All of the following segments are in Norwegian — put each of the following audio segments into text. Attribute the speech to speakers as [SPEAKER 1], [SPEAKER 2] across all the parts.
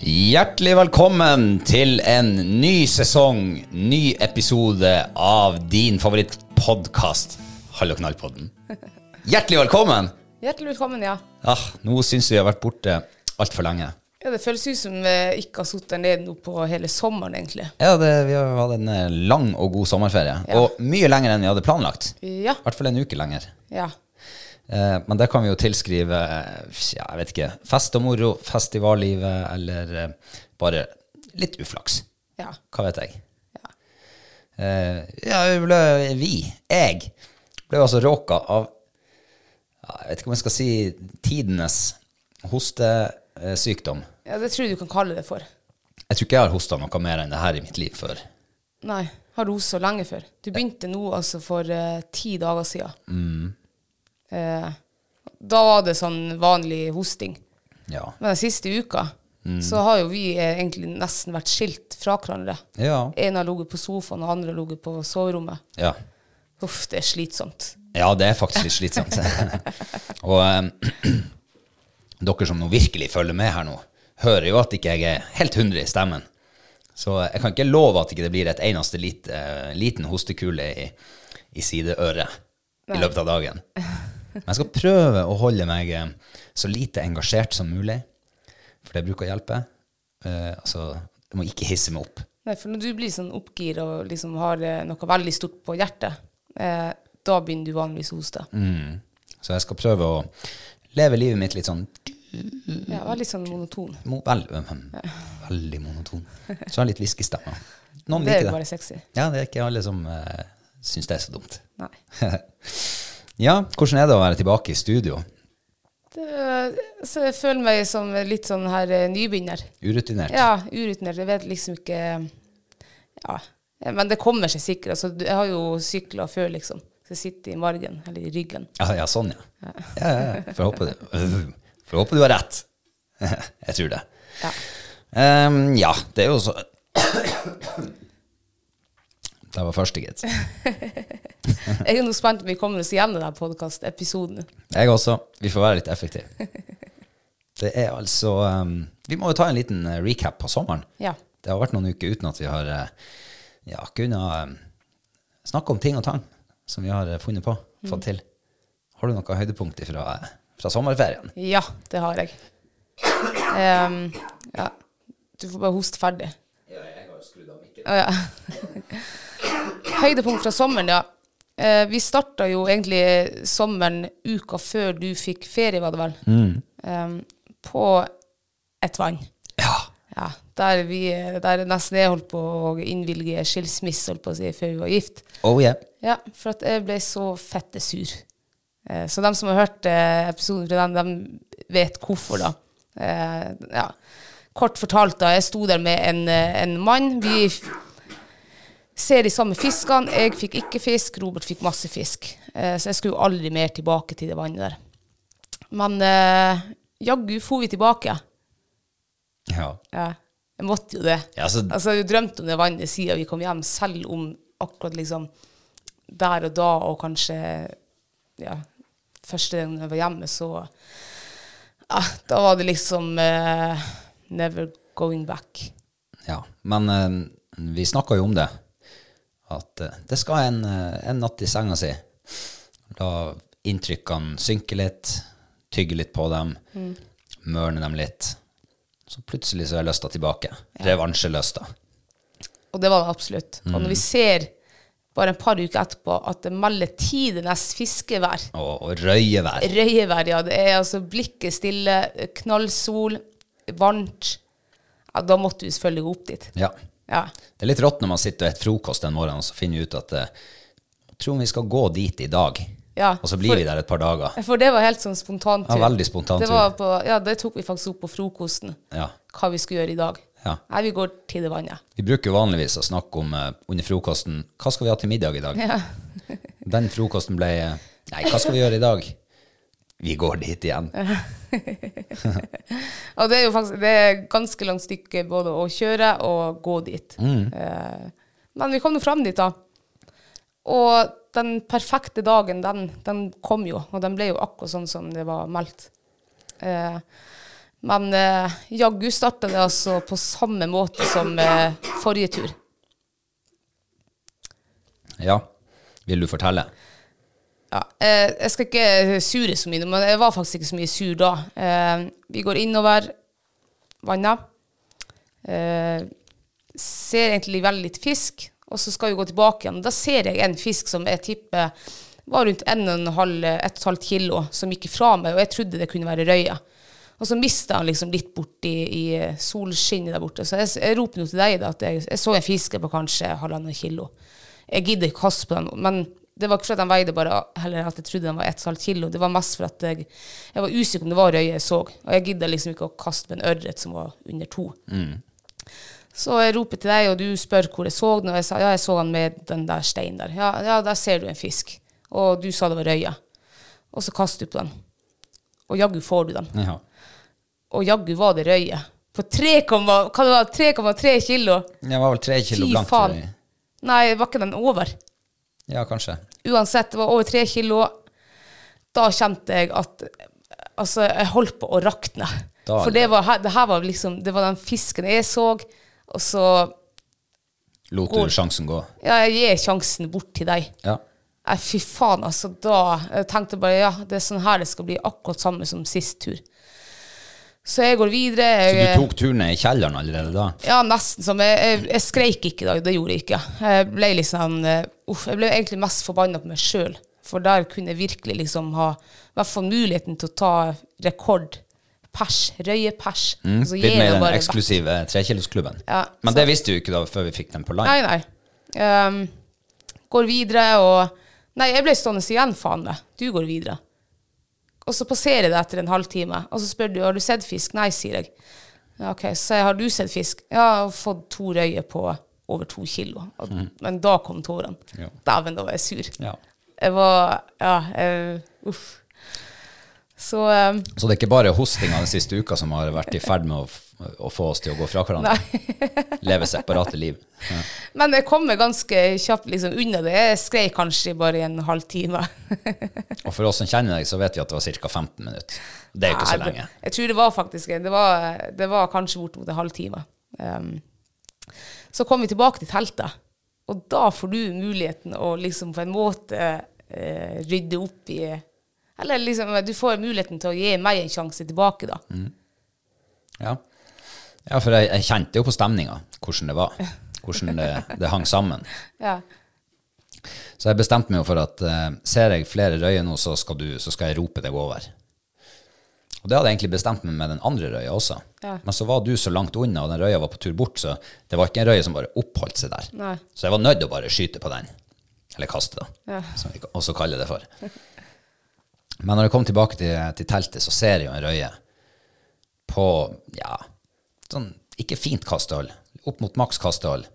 [SPEAKER 1] Hjertelig velkommen til en ny sesong, ny episode av din favorittpodkast, Hall og knall-podden. Hjertelig velkommen!
[SPEAKER 2] Hjertelig velkommen, ja.
[SPEAKER 1] Ah, nå syns vi vi har vært borte altfor lenge.
[SPEAKER 2] ja. Det føles ut som vi ikke har sittet ned nå på hele sommeren, egentlig.
[SPEAKER 1] Ja, det, Vi har hatt en eh, lang og god sommerferie,
[SPEAKER 2] Ja.
[SPEAKER 1] og mye lenger enn vi hadde planlagt.
[SPEAKER 2] Ja.
[SPEAKER 1] I hvert fall en uke lenger.
[SPEAKER 2] Ja.
[SPEAKER 1] Eh, men det kan vi jo tilskrive eh, ja, jeg vet ikke, fest og moro, festivallivet, eller eh, bare litt uflaks.
[SPEAKER 2] Ja.
[SPEAKER 1] Hva vet jeg. Eh, ja, vi ble, vi, jeg, ble altså råka av ja, Jeg vet ikke om jeg skal si tidenes hostesykdom.
[SPEAKER 2] ja. Det tror jeg du kan kalle det for.
[SPEAKER 1] Jeg tror ikke jeg har hosta noe mer enn det her i mitt liv før.
[SPEAKER 2] Nei. Har du host så lenge før? Du begynte nå altså for eh, ti dager siden. Eh, da var det sånn vanlig hosting.
[SPEAKER 1] Ja.
[SPEAKER 2] Men den siste uka så har jo vi eh, egentlig nesten vært skilt fra hverandre.
[SPEAKER 1] Ja.
[SPEAKER 2] En har ligget på sofaen, og andre har ligget på soverommet.
[SPEAKER 1] ja.
[SPEAKER 2] Uff, det er slitsomt.
[SPEAKER 1] Ja, det er faktisk litt slitsomt. og eh, dere som nå virkelig følger med her nå, hører jo at ikke jeg er helt 100 i stemmen. Så jeg kan ikke love at ikke det blir et eneste lit, eh, liten hostekule i, i sideøret i løpet av dagen. Men jeg skal prøve å holde meg eh, så lite engasjert som mulig, for det bruker å hjelpe. Eh, altså, jeg må ikke hisse meg opp.
[SPEAKER 2] Nei, for når du blir sånn oppgir og liksom har eh, noe veldig stort på hjertet, eh, da begynner du vanligvis å hoste.
[SPEAKER 1] Mm. Så jeg skal prøve å leve livet mitt litt sånn Mm.
[SPEAKER 2] Ja, veldig sånn monoton.
[SPEAKER 1] Mo vel, øhm, hm, veldig monoton. Så har jeg litt whiskystemme. Noen
[SPEAKER 2] Det er
[SPEAKER 1] liker
[SPEAKER 2] jo
[SPEAKER 1] det.
[SPEAKER 2] bare sexy.
[SPEAKER 1] Ja, det er ikke alle som uh, syns det er så dumt.
[SPEAKER 2] Nei.
[SPEAKER 1] Ja, hvordan er det å være tilbake i studio?
[SPEAKER 2] Det, så jeg føler meg som litt sånn her eh, nybegynner.
[SPEAKER 1] Urutinert?
[SPEAKER 2] Ja, urutinert. Jeg vet liksom ikke Ja. eh, Men det kommer seg sikkert. Altså, du- jeg har jo sykla før, liksom. Så jeg sitter i margen, eller i ryggen.
[SPEAKER 1] ja, ja, sånn, ja. ja, ja, ja. Får håpe, det- øh, får håpe du har rett. jeg tror det.
[SPEAKER 2] Ja.
[SPEAKER 1] Ehm, ja, det er jo så Det var første, gitt.
[SPEAKER 2] Jeg er jo nå spent om vi kommer oss gjennom denne podkastepisoden.
[SPEAKER 1] Jeg også. Vi får være litt effektive. Det er altså um, Vi må jo ta en liten eh, recap på sommeren.
[SPEAKER 2] Ja.
[SPEAKER 1] Det har vært noen uker uten at vi har eh, ja, kunnet um, snakke om ting og tang som vi har eh, funnet på, fått til. Har du noe høydepunkt fra, fra sommerferien?
[SPEAKER 2] Ja, det har jeg. Ehm, ja. Du får bare hoste ferdig. Å, Ja, Høydepunkt fra sommeren, ja. Eh, vi starta jo egentlig sommeren uka før du fikk ferie, var det vel. Ehm, på et vann.
[SPEAKER 1] Ja.
[SPEAKER 2] Ja, der vi eh, der nesten jeg holdt på å innvilge skilsmisse, holdt på å si, før vi var gift.
[SPEAKER 1] Oh yeah.
[SPEAKER 2] Ja, for at jeg ble så fette sur. Eh, Så de som har hørt eh, episoden fra den, de vet hvorfor, da. Eh, Ja. Kort fortalt, da. Jeg sto der med en, eh, en mann. Vi f- ser de samme fiskene. Jeg fikk ikke fisk, Robert fikk masse fisk. Eh, Så jeg skulle jo aldri mer tilbake til det vannet der. Men eh, jaggu for vi tilbake.
[SPEAKER 1] Ja.
[SPEAKER 2] Ja, jeg måtte jo det.
[SPEAKER 1] Ja, så-
[SPEAKER 2] altså, jeg drømte om det vannet siden vi kom hjem, selv om akkurat liksom der og da, og kanskje ja, første gang jeg var hjemme, så ja, da var det liksom eh, never going back.
[SPEAKER 1] ja. Men eh, vi snakka jo om det. At eh, det skal en, eh, en natt i senga si. La inntrykkene synke litt, tygge litt på dem, mørne dem litt. Så plutselig så er lysta tilbake. Revansjelysta.
[SPEAKER 2] Og det var det absolutt. Og
[SPEAKER 1] Mm.
[SPEAKER 2] når vi ser bare et par uker etterpå at det melder tidenes fiskevær,
[SPEAKER 1] Og, og røyevær.
[SPEAKER 2] Røyevær, ja. Det er altså blikket stille, knallsol, varmt. Ja, da måtte vi selvfølgelig gå opp dit.
[SPEAKER 1] Ja.
[SPEAKER 2] Ja.
[SPEAKER 1] Det er litt rått når man sitter og spiser frokost den morgenen og så finner vi ut at eh, jeg tror vi skal gå dit i dag.
[SPEAKER 2] Ja,
[SPEAKER 1] og så blir
[SPEAKER 2] for-
[SPEAKER 1] vi der et par dager.
[SPEAKER 2] For det var helt sånn spontantur.
[SPEAKER 1] Ja, veldig spontan
[SPEAKER 2] Det
[SPEAKER 1] tur.
[SPEAKER 2] var på, ja, det tok vi faktisk opp på frokosten,
[SPEAKER 1] Ja.
[SPEAKER 2] hva vi skulle gjøre i dag.
[SPEAKER 1] Ja.
[SPEAKER 2] Nei, vi går til det vannet.
[SPEAKER 1] Vi bruker jo vanligvis å snakke om eh, under frokosten hva skal vi ha til middag i dag. den frokosten ble eh, Nei, hva skal vi gjøre i dag? Vi går dit igjen.
[SPEAKER 2] Og det er jo faktisk det er ganske langt stykke både å kjøre og gå dit.
[SPEAKER 1] Mm.
[SPEAKER 2] Eh, men vi kom jo fram dit, da. Og den perfekte dagen, den, den kom jo. Og den ble jo akkurat sånn som det var meldt. Eh, men eh, jaggu starta det altså på samme måte som eh, forrige tur.
[SPEAKER 1] Ja. Vil du fortelle?
[SPEAKER 2] Ja, eh, jeg skal ikke sure så mye, men jeg var faktisk ikke så mye sur da. Eh, vi går innover vannet. Eh, ser egentlig veldig litt fisk, og så skal vi gå tilbake igjen. Da ser jeg en fisk som jeg tipper var rundt 1,5 kilo, som gikk fra meg, og jeg trodde det kunne være røye. Og så mista han liksom litt borti i eh, solskinnet der borte. Så jeg, jeg roper nå til deg da, at jeg, jeg så en fisker på kanskje halvannen kilo. Jeg gidder ikke kaste på den, men det var ikke fordi den veide bare heller at jeg trodde den var 1,5 kilo. Det var mest for at jeg, jeg var usikker på om det var røye jeg så. Og jeg gidder liksom ikke å kaste på en ørret som var under to. Så jeg roper til deg, og du spør hvor jeg så den, og jeg sa ja, jeg så den med den der steinen der. Ja, ja, der ser du en fisk. Og du sa det var røye. Og så kaster du på den. Og jaggu får du den.
[SPEAKER 1] Ja.
[SPEAKER 2] Og jaggu var det røye. På 3,3 hva det var, 3,3 kilo.
[SPEAKER 1] Jeg var vel tre kilo
[SPEAKER 2] Fy
[SPEAKER 1] blank. tror
[SPEAKER 2] faen.
[SPEAKER 1] jeg.
[SPEAKER 2] Nei, var ikke den over?
[SPEAKER 1] Ja, kanskje.
[SPEAKER 2] Uansett, det var over 3 kilo. Da kjente jeg at Altså, jeg holdt på å rakne.
[SPEAKER 1] Da-
[SPEAKER 2] For det var, her- det her var liksom Det var den fisken jeg så, og så
[SPEAKER 1] Lot
[SPEAKER 2] Går.
[SPEAKER 1] du sjansen gå?
[SPEAKER 2] Ja, jeg gir sjansen bort til deg.
[SPEAKER 1] Ja.
[SPEAKER 2] Nei, fy faen, altså. Da jeg tenkte jeg bare ja, det er sånn her det skal bli akkurat samme som sist tur. Så jeg går videre.
[SPEAKER 1] Så
[SPEAKER 2] Jeg,
[SPEAKER 1] du tok turen ned i kjelleren allerede da?
[SPEAKER 2] Ja, nesten som Jeg, jeg, jeg skreik ikke i dag, det gjorde jeg ikke. Jeg ble litt sånn, eh, uff, jeg ble egentlig mest forbanna på meg sjøl, for der kunne jeg virkelig liksom ha i hvert fall muligheten til å ta rekord. Pers. Røye-pers.
[SPEAKER 1] Mm.
[SPEAKER 2] Og så gir
[SPEAKER 1] Litt mer
[SPEAKER 2] jeg
[SPEAKER 1] den
[SPEAKER 2] bare vekk.
[SPEAKER 1] eksklusive trekilosklubben.
[SPEAKER 2] Ja,
[SPEAKER 1] Men det visste du ikke da før vi fikk den på line.
[SPEAKER 2] Nei, nei. Ehm, går videre og Nei, jeg ble stående igjen, faen meg. Du går videre. Og så passerer jeg det etter en halvtime, og så spør du har du sett fisk. Nei, sier jeg. Ja, ok, Så jeg, har du sett fisk? Ja, jeg har fått to røyer på over to kilo. Og, Men da kom tårene.
[SPEAKER 1] Ja.
[SPEAKER 2] Dæven, da var jeg sur.
[SPEAKER 1] Ja.
[SPEAKER 2] Jeg var Ja, jeg, uff. Så ehm,
[SPEAKER 1] Så det er ikke bare hostinga den siste uka som har vært i ferd med å, f- å få oss til å gå fra hverandre? Leve separate liv. Ja.
[SPEAKER 2] Men jeg kom meg ganske kjapt liksom unna det. Jeg skrei kanskje bare i en halvtime.
[SPEAKER 1] Og for oss som kjenner deg, så vet vi at det var ca. 15 minutter. Det er jo ikke så
[SPEAKER 2] Nei,
[SPEAKER 1] lenge.
[SPEAKER 2] Jeg tror det var faktisk det. Var, det var kanskje bortimot en halvtime. Ehm, så kom vi tilbake til teltet, og da får du muligheten å liksom på en måte eh, rydde opp i Eller liksom, du får muligheten til å gi meg en sjanse tilbake, da.
[SPEAKER 1] Mm. Ja, ja for jeg, jeg kjente jo på stemninga hvordan det var. Hvordan det, det hang sammen.
[SPEAKER 2] Ja.
[SPEAKER 1] Så jeg bestemte meg jo for at eh, ser jeg flere røyer nå, så skal, du, så skal jeg rope deg over. Og Og det hadde jeg egentlig bestemt meg med den andre røya også.
[SPEAKER 2] Ja.
[SPEAKER 1] Men så var du så langt unna, og den røya var på tur bort, så det var ikke en røye som bare oppholdt seg der.
[SPEAKER 2] Nei.
[SPEAKER 1] Så jeg var nødt til å bare skyte på den. Eller kaste, da.
[SPEAKER 2] Ja.
[SPEAKER 1] Som vi også kaller det for. Men når jeg kom tilbake til, til teltet, så ser jeg jo en røye på ja, sånn ikke fint kastehold, opp mot maks kastehold.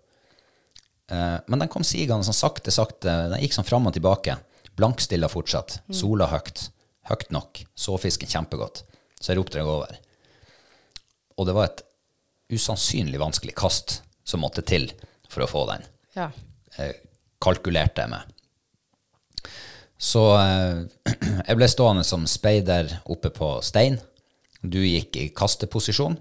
[SPEAKER 1] Eh, men den kom sigende sånn sakte, sakte. Den gikk sånn fram og tilbake. Blankstilla fortsatt. Sola høyt. Høyt nok. Så fisken kjempegodt. Så jeg ropte den over. Og det var et usannsynlig vanskelig kast som måtte til for å få den
[SPEAKER 2] Ja.
[SPEAKER 1] kalkulerte jeg med. Så eh, jeg ble stående som speider oppe på stein. Du gikk i kasteposisjon.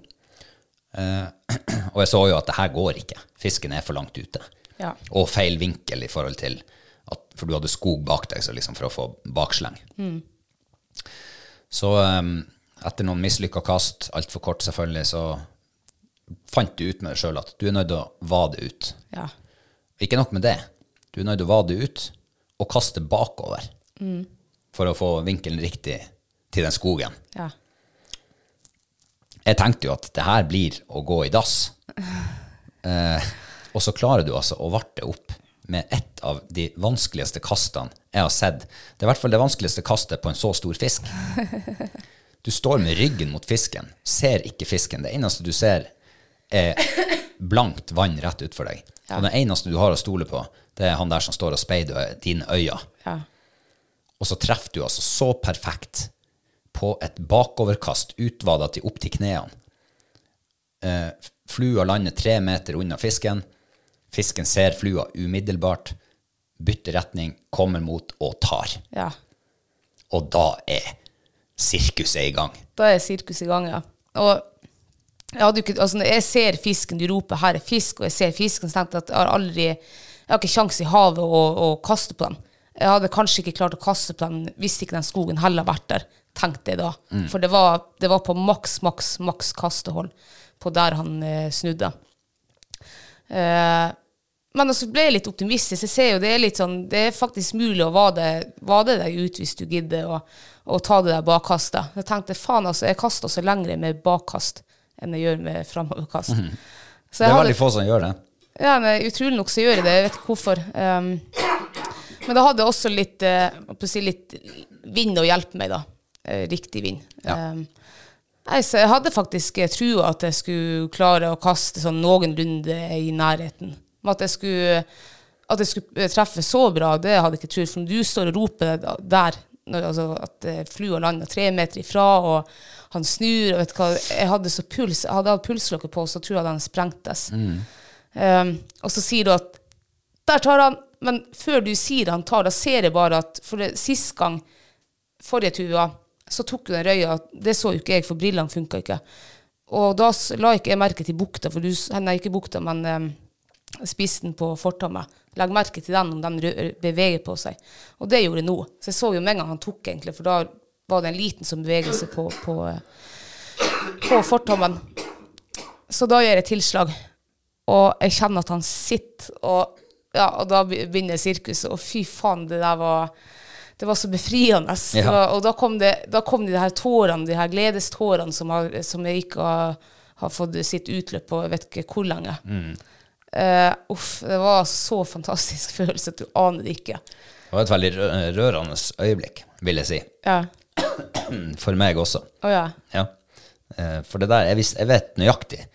[SPEAKER 1] Eh, og jeg så jo at det her går ikke. Fisken er for langt ute.
[SPEAKER 2] Ja.
[SPEAKER 1] Og feil vinkel i forhold til at, For du hadde skog bak deg så liksom for å få baksleng. Så eh, etter noen mislykka kast, altfor kort selvfølgelig, så fant du ut med deg sjøl at du er nødt til å vade ut.
[SPEAKER 2] ja.
[SPEAKER 1] Ikke nok med det. Du er nødt til å vade ut og kaste bakover for å få vinkelen riktig til den skogen.
[SPEAKER 2] ja.
[SPEAKER 1] Jeg tenkte jo at det her blir å gå i dass. Eh, og så klarer du altså å varte opp med et av de vanskeligste kastene jeg har sett. Det er i hvert fall det vanskeligste kastet på en så stor fisk. Du står med ryggen mot fisken, ser ikke fisken. Det eneste du ser, er blankt vann rett utfor deg. Og det eneste du har å stole på, det er han der som står og speider ø- dine øyne.
[SPEAKER 2] ja.
[SPEAKER 1] Og så treffer du altså så perfekt på et bakoverkast utvada til opp til knærne. Eh, flua lander tre meter unna fisken. Fisken ser flua umiddelbart, bytter retning, kommer mot og tar.
[SPEAKER 2] ja.
[SPEAKER 1] Og da er sirkuset i gang.
[SPEAKER 2] Da er sirkus i gang, ja. Og jeg, hadde jo ikke, altså, når jeg ser fisken, du roper 'her er fisk', og jeg ser fisken, så tenkte jeg at jeg har aldri Jeg har ikke kjangs i havet å, å kaste på den. Jeg hadde kanskje ikke klart å kaste på den hvis ikke den skogen heller vært der, tenkte jeg da. For det var, det var på maks, maks, maks kastehold på der han eh, snudde. Eh, men altså ble jeg litt optimistisk. Jeg ser jo det er litt sånn Det er faktisk mulig å vade, vade deg ut hvis du gidder, og, og ta det der bakkastet. Jeg tenkte faen, altså, jeg kaster også lengre med bakkast enn jeg gjør med framoverkast. Så
[SPEAKER 1] Mhm. Det
[SPEAKER 2] jeg
[SPEAKER 1] er
[SPEAKER 2] hadde-
[SPEAKER 1] veldig få som gjør det.
[SPEAKER 2] ja, men utrolig nok så gjør jeg det. Jeg vet ikke hvorfor. Ehm, men da hadde jeg også litt, eh, hva skal jeg si, litt vind å hjelpe meg, da. Eh, riktig vind.
[SPEAKER 1] Ja.
[SPEAKER 2] Ehm, nei, så jeg hadde faktisk eh, trua at jeg skulle klare å kaste sånn noenlunde i nærheten. Men at jeg skulle, at jeg skulle eh, treffe så bra, det hadde jeg ikke trodd. For når du står og roper da- der, når, altså, at eh, flua lander tre meter ifra, og han snur og vet du hva, Jeg hadde så puls, jeg hadde hatt pulsklokke på, så tror jeg den sprengtes. Um, og så sier du at der tar han, men før du sier han tar, da ser jeg bare at for det, sist gang, forrige tua, så tok jo den røya, det så jo ikke jeg, for brillene funka ikke. Og da s- la ikke jeg merke til bukta, for du, s- nei, ikke bukta, men um, spissen på fortommet. Legg merke til den om den rø- beveger på seg. Og det gjorde jeg nå. Så jeg så jo med en gang han tok, egentlig, for da var det en liten sånn bevegelse på, på, eh, på fortommen. Så da gjør jeg tilslag. Og jeg kjenner at han sitter, og, ja, og da be- begynner sirkuset. Og fy faen, det der var Det var så befriende.
[SPEAKER 1] Ja.
[SPEAKER 2] Det var- og da kom, det, da kom de her tårene, de her gledestårene som, har, som jeg ikke har, har fått sitt utløp på jeg vet ikke hvor lenge.
[SPEAKER 1] Mm.
[SPEAKER 2] Eh, uff, det var så fantastisk følelse at du aner det ikke.
[SPEAKER 1] Det var et veldig rø- rørende øyeblikk, vil jeg si.
[SPEAKER 2] Ja.
[SPEAKER 1] For meg også.
[SPEAKER 2] Å ja.
[SPEAKER 1] Ja. Eh, For det der, jeg, vis- jeg vet nøyaktig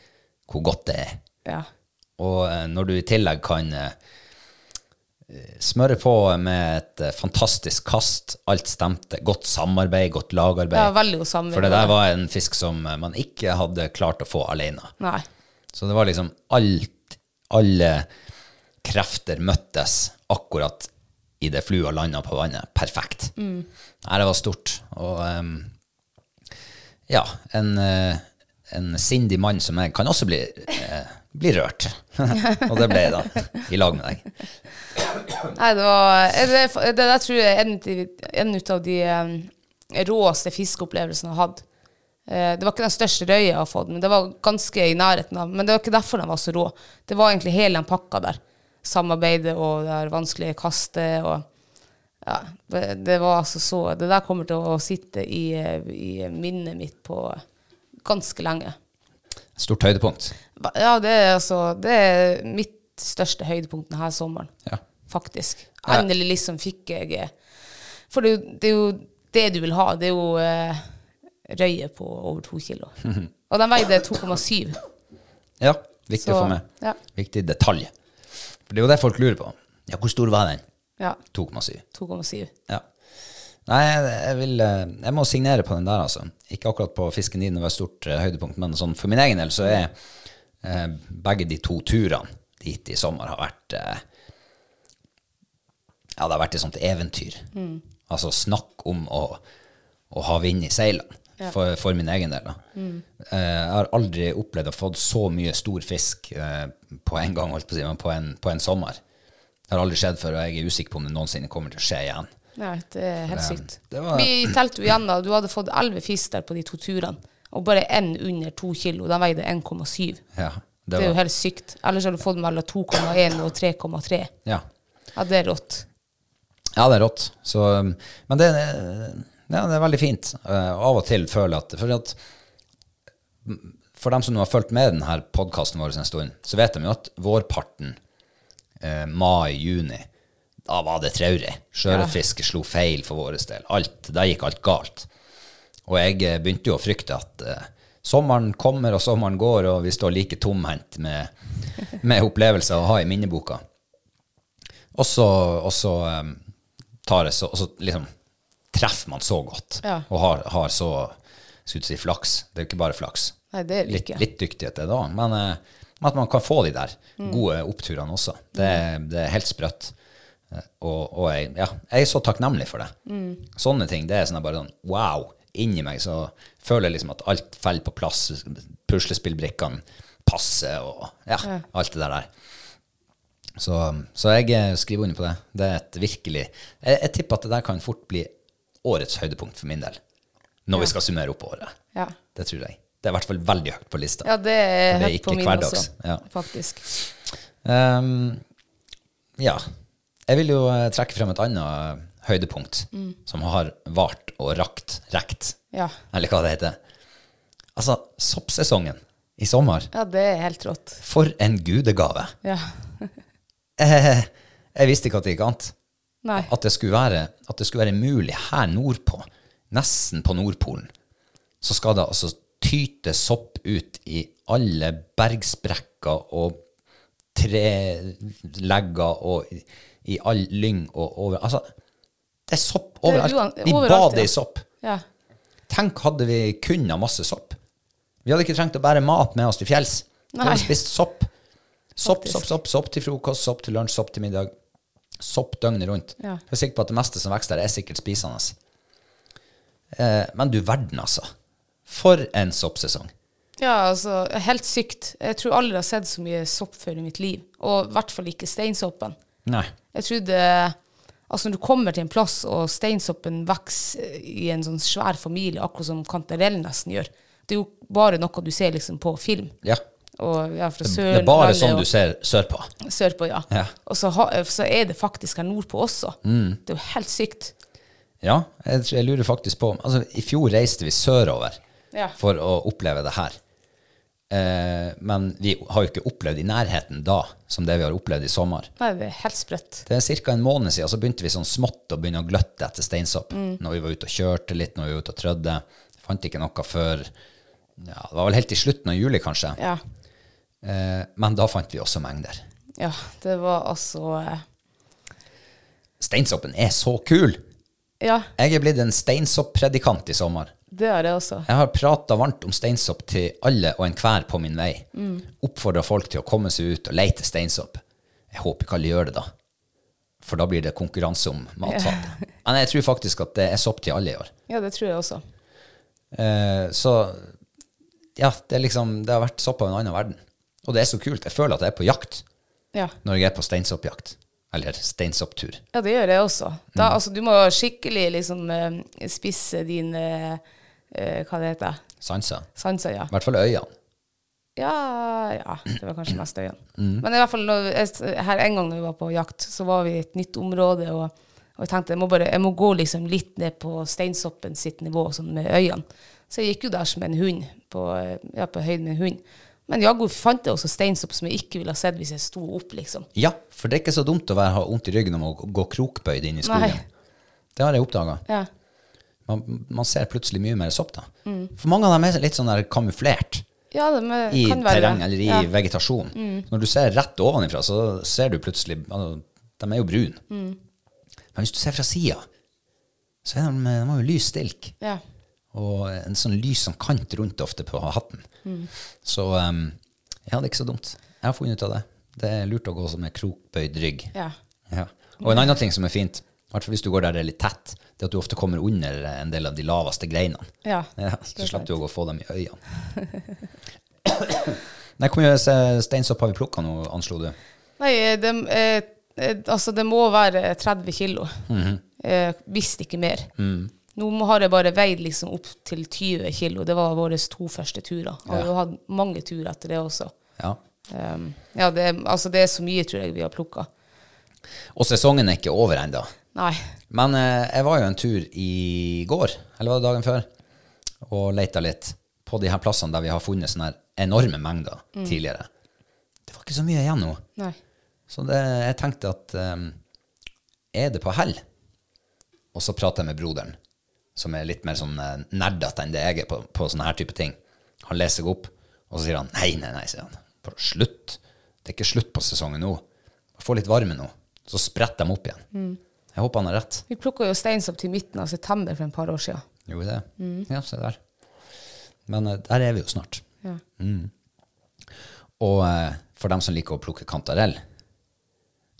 [SPEAKER 1] hvor godt det er.
[SPEAKER 2] Ja.
[SPEAKER 1] Og eh, når du i tillegg kan eh, smøre på med et eh, fantastisk kast, alt stemte, godt samarbeid, godt lagarbeid.
[SPEAKER 2] Ja, veldig god samarbeid.
[SPEAKER 1] For det der var en fisk som eh, man ikke hadde klart å få alene.
[SPEAKER 2] Nei.
[SPEAKER 1] Så det var liksom alt, alle krefter møttes akkurat i det flua landa på vannet. Perfekt. Nei, det var stort. Og em, ja, en, eh, en sindig mann som meg kan også bli, eh, bli rørt. Og det ble jeg da, i lag med deg.
[SPEAKER 2] Nei, det var eh, Det, det der tror jeg er en, av- en ut av de eh, råeste fiskeopplevelsene jeg har hatt. Eh, Det var ikke den største røya jeg har fått, men det var ganske i nærheten av. Men det var ikke derfor den var så rå. Det var egentlig hele den pakka der. Samarbeidet og det her vanskelige kastet og Ja, det, det var altså så Det der kommer til å sitte i, eh, i minnet mitt på ganske lenge.
[SPEAKER 1] Stort høydepunkt.
[SPEAKER 2] Ba- Ja, det er altså Det er mitt største høydepunkt denne sommeren,
[SPEAKER 1] Ja.
[SPEAKER 2] faktisk.
[SPEAKER 1] Ja.
[SPEAKER 2] Endelig liksom fikk jeg eh, For det, er jo- det er jo det du vil ha. Det er jo eh, røye på over to kilo. Og den veide 2,7.
[SPEAKER 1] Ja, viktig å
[SPEAKER 2] Så,
[SPEAKER 1] få med.
[SPEAKER 2] ja.
[SPEAKER 1] Viktig detalj. For det er jo det folk lurer på. Ja, hvor stor var den?
[SPEAKER 2] Ja,
[SPEAKER 1] 2,7.
[SPEAKER 2] 2,7.
[SPEAKER 1] Ja. Nei, jeg, jeg vil eh, Jeg må signere på den der, altså. Ikke akkurat på fisken din, det var et stort eh, høydepunkt, men sånn for min egen del så er eh, begge de to turene dit i sommer har vært eh, Ja, det har vært et sånt eventyr. Altså snakk om å, å ha vind i seilene. For, for min egen del. da. Eh, jeg har aldri opplevd å få så mye stor fisk eh, på en gang, holdt på å si, men på en, på en sommer. Det har aldri skjedd før, og jeg er usikker på om det noensinne kommer til å skje igjen.
[SPEAKER 2] Nei, det er helt sykt.
[SPEAKER 1] det var-
[SPEAKER 2] Vi telte jo igjen, da. Du hadde fått elleve fisk der på de to turene, og bare én under to kilo. Den veide 1,7.
[SPEAKER 1] Ja,
[SPEAKER 2] Det, er jo helt sykt. Ellers hadde du fått mellom 2,1 og 3,3.
[SPEAKER 1] ja.
[SPEAKER 2] Ja, det er rått.
[SPEAKER 1] ja, det er rått. Så, um, men det, eh, ja, det er veldig fint. eh, av og til føler jeg at For, at, for dem som nå har fulgt med denne podkasten vår en stund, så vet de jo at vårparten, eh, mai-juni, da var det traurig. Sjøørretfiske slo feil for vår del. Alt, der gikk alt galt. Og jeg eh, begynte jo å frykte at eh, sommeren kommer og sommeren går, og vi står like tomhendt med, med opplevelser å ha i minneboka. Og så, og så um, tar det så, og så liksom treffer man så godt
[SPEAKER 2] Ja.
[SPEAKER 1] og har, har så skulle jeg si flaks. Det er jo ikke bare flaks.
[SPEAKER 2] Nei, det er det
[SPEAKER 1] Litt,
[SPEAKER 2] ikke.
[SPEAKER 1] litt dyktighet er det òg, men eh, men at man kan få de der gode oppturene også. Det, det er helt sprøtt. Eh, Og, og jeg, ja, jeg er så takknemlig for det. Sånne ting. Det er sånn at bare sånn wow. Inni meg så føler jeg liksom at alt faller på plass. Puslespillbrikkene passer og ja, alt det der der. Så, så jeg eh, skriver under på det. Det er et virkelig jeg, jeg tipper at det der kan fort bli årets høydepunkt for min del. Når vi skal summere opp året.
[SPEAKER 2] Ja.
[SPEAKER 1] Det tror jeg. Det er i hvert fall veldig høyt på lista.
[SPEAKER 2] Ja, det er
[SPEAKER 1] For det er
[SPEAKER 2] helt på
[SPEAKER 1] ikke
[SPEAKER 2] min
[SPEAKER 1] hverdags,
[SPEAKER 2] også,
[SPEAKER 1] ja.
[SPEAKER 2] faktisk.
[SPEAKER 1] Ehm, ja. Jeg vil jo eh, trekke frem et annet eh, høydepunkt som har vart og rakt, rekt,
[SPEAKER 2] Ja.
[SPEAKER 1] eller hva det heter. Altså, soppsesongen i sommer.
[SPEAKER 2] ja, det er helt rått.
[SPEAKER 1] For en gudegave.
[SPEAKER 2] Ja.
[SPEAKER 1] Eh, jeg visste ikke at det gikk an.
[SPEAKER 2] Nei.
[SPEAKER 1] At det skulle være, at det skulle være mulig her nordpå, nesten på Nordpolen, så skal det altså tyte sopp ut i alle bergsprekker og trelegger og i- i all lyng og over. Altså, det er sopp
[SPEAKER 2] er
[SPEAKER 1] overalt.
[SPEAKER 2] uan-
[SPEAKER 1] Vi
[SPEAKER 2] overalt,
[SPEAKER 1] bader
[SPEAKER 2] ja.
[SPEAKER 1] i sopp.
[SPEAKER 2] Ja.
[SPEAKER 1] Tenk hadde vi kun av masse sopp. Vi hadde ikke trengt å bære mat med oss til fjells. Vi
[SPEAKER 2] Nei.
[SPEAKER 1] hadde spist sopp. Sopp,
[SPEAKER 2] Faktisk.
[SPEAKER 1] sopp, sopp, sopp til frokost, sopp til lunsj, sopp til middag. Sopp døgnet rundt.
[SPEAKER 2] Ja.
[SPEAKER 1] Jeg er sikker på at det meste som vokser der, er sikkert spisende. Eh, men du verden, altså. For en soppsesong.
[SPEAKER 2] ja, altså, helt sykt. Jeg tror aldri jeg har sett så mye sopp før i mitt liv, og i hvert fall ikke steinsoppen.
[SPEAKER 1] Nei.
[SPEAKER 2] Jeg trodde Altså, når du kommer til en plass, og steinsoppen vokser i en sånn svær familie, akkurat som kantarellen nesten gjør Det er jo bare noe du ser liksom på film.
[SPEAKER 1] Ja.
[SPEAKER 2] Og ja, fra
[SPEAKER 1] Det
[SPEAKER 2] sør,
[SPEAKER 1] er bare
[SPEAKER 2] Valley
[SPEAKER 1] sånn
[SPEAKER 2] og
[SPEAKER 1] du ser sørpå.
[SPEAKER 2] Sørpå, ja.
[SPEAKER 1] Ja. Mm.
[SPEAKER 2] Og så, ha, så er det faktisk her nordpå også. Det er jo helt sykt.
[SPEAKER 1] Ja, jeg, tror- jeg lurer faktisk på Altså, i fjor reiste vi sørover
[SPEAKER 2] Ja.
[SPEAKER 1] for å oppleve det her. Eh, men vi har jo ikke opplevd i nærheten da som det vi har opplevd i sommer.
[SPEAKER 2] Nei, det er helt sprøtt.
[SPEAKER 1] Det er ca. en måned siden så begynte vi sånn smått å begynne å gløtte etter steinsopp.
[SPEAKER 2] Mm.
[SPEAKER 1] Når vi var ute og kjørte litt, når vi var ute og trødde. Fant ikke noe før ja, Det var vel helt til slutten av juli, kanskje.
[SPEAKER 2] Ja.
[SPEAKER 1] Eh, men da fant vi også mengder.
[SPEAKER 2] ja. Det var altså eh,
[SPEAKER 1] Steinsoppen er så kul!
[SPEAKER 2] Ja,
[SPEAKER 1] Jeg er blitt en steinsopp-predikant i sommer.
[SPEAKER 2] det er det også.
[SPEAKER 1] Jeg har prata varmt om steinsopp til alle og enhver på min vei. Oppfordra folk til å komme seg ut og leite steinsopp. Jeg håper ikke alle gjør det, da. For da blir det konkurranse om matfatet. Men jeg tror faktisk at det er sopp til alle i år.
[SPEAKER 2] Ja, det tror jeg også.
[SPEAKER 1] Eh, så ja, det, er liksom, det har vært sopp av en annen verden. Og det er så kult. Jeg føler at jeg er på jakt
[SPEAKER 2] Ja.
[SPEAKER 1] når jeg er på steinsoppjakt. Eller steinsopptur.
[SPEAKER 2] Ja, det gjør jeg også. Da, altså, du må jo skikkelig liksom, eh, spisse din eh, eh, Hva det heter det?
[SPEAKER 1] Sanser.
[SPEAKER 2] Sanser, ja.
[SPEAKER 1] I hvert fall øynene.
[SPEAKER 2] ja. Ja, det var kanskje mest
[SPEAKER 1] Mm.
[SPEAKER 2] øynene. Men i hvert fall når jeg, her en gang da vi var på jakt, så var vi i et nytt område, og, Og jeg tenkte jeg må, bare, jeg må gå liksom litt ned på steinsoppen sitt nivå sånn med øynene. Så jeg gikk jo der som en hund, på, ja, på høyden med en hund. Men jaggu fant jeg også steinsopp som jeg ikke ville ha sett hvis jeg sto opp, liksom.
[SPEAKER 1] Ja, for det er ikke så dumt å være, ha vondt i ryggen om å gå krokbøyd inn i skogen.
[SPEAKER 2] Nei.
[SPEAKER 1] Det har jeg oppdaga.
[SPEAKER 2] Ja.
[SPEAKER 1] Man, man ser plutselig mye mer sopp da.
[SPEAKER 2] Mm.
[SPEAKER 1] For mange av dem er litt sånn der kamuflert
[SPEAKER 2] Ja, det med,
[SPEAKER 1] i
[SPEAKER 2] kan være
[SPEAKER 1] terreng
[SPEAKER 2] det.
[SPEAKER 1] eller i
[SPEAKER 2] ja. Mm.
[SPEAKER 1] vegetasjon. Når du ser rett ovenifra, så ser du plutselig altså, De er jo brune.
[SPEAKER 2] Mm.
[SPEAKER 1] Men hvis du ser fra sida, så er de, de har jo lys stilk.
[SPEAKER 2] Ja.
[SPEAKER 1] Og en sånn lys som kant rundt ofte på hatten.
[SPEAKER 2] Mm.
[SPEAKER 1] Så um, ja, det er ikke så dumt. Jeg har funnet ut av det. Det er lurt å gå som med krokbøyd rygg.
[SPEAKER 2] Ja.
[SPEAKER 1] Ja. Og en annen ting som er fint, i hvert fall hvis du går der det er litt tett, det er at du ofte kommer under en del av de laveste greinene.
[SPEAKER 2] Ja,
[SPEAKER 1] Ja,
[SPEAKER 2] det
[SPEAKER 1] så
[SPEAKER 2] er
[SPEAKER 1] slapp
[SPEAKER 2] sant.
[SPEAKER 1] du å få dem i øynene. Nei, hvor mye se- steinsopp har vi plukka nå, anslo du?
[SPEAKER 2] Nei, det, eh, eh, altså det må være 30 kilo. eh, hvis ikke mer. Nå må- har jeg bare veid liksom opp til 20 kilo. Det var våre to første turer. Og vi har hatt mange turer etter det også.
[SPEAKER 1] Ja.
[SPEAKER 2] Um, ja, det, er- altså det er så mye, tror jeg, vi har plukka.
[SPEAKER 1] Og sesongen er ikke over ennå.
[SPEAKER 2] Nei.
[SPEAKER 1] Men eh, jeg var jo en tur i går, eller var det dagen før, og leita litt på de her plassene der vi har funnet sånne her enorme mengder
[SPEAKER 2] Mm.
[SPEAKER 1] tidligere. Det var ikke så mye igjen nå.
[SPEAKER 2] Nei.
[SPEAKER 1] Så det, jeg tenkte at ehm, er det på hell? Og så prater jeg med broderen, som er litt mer sånn eh, nerdete enn det jeg er på, på sånne her type ting. Han leser seg opp, og så sier han nei, nei, nei, sier han. Bare slutt. Det er ikke slutt på sesongen nå. Få litt varme nå. Så spretter de opp igjen. Jeg håper han har rett.
[SPEAKER 2] Vi plukka jo steinsopp til midten av september for en par år siden.
[SPEAKER 1] Gjorde det?
[SPEAKER 2] Mm.
[SPEAKER 1] Ja, se der. Men eh, der er vi jo snart. Mm.
[SPEAKER 2] Ja.
[SPEAKER 1] Og eh, for dem som liker å plukke kantarell,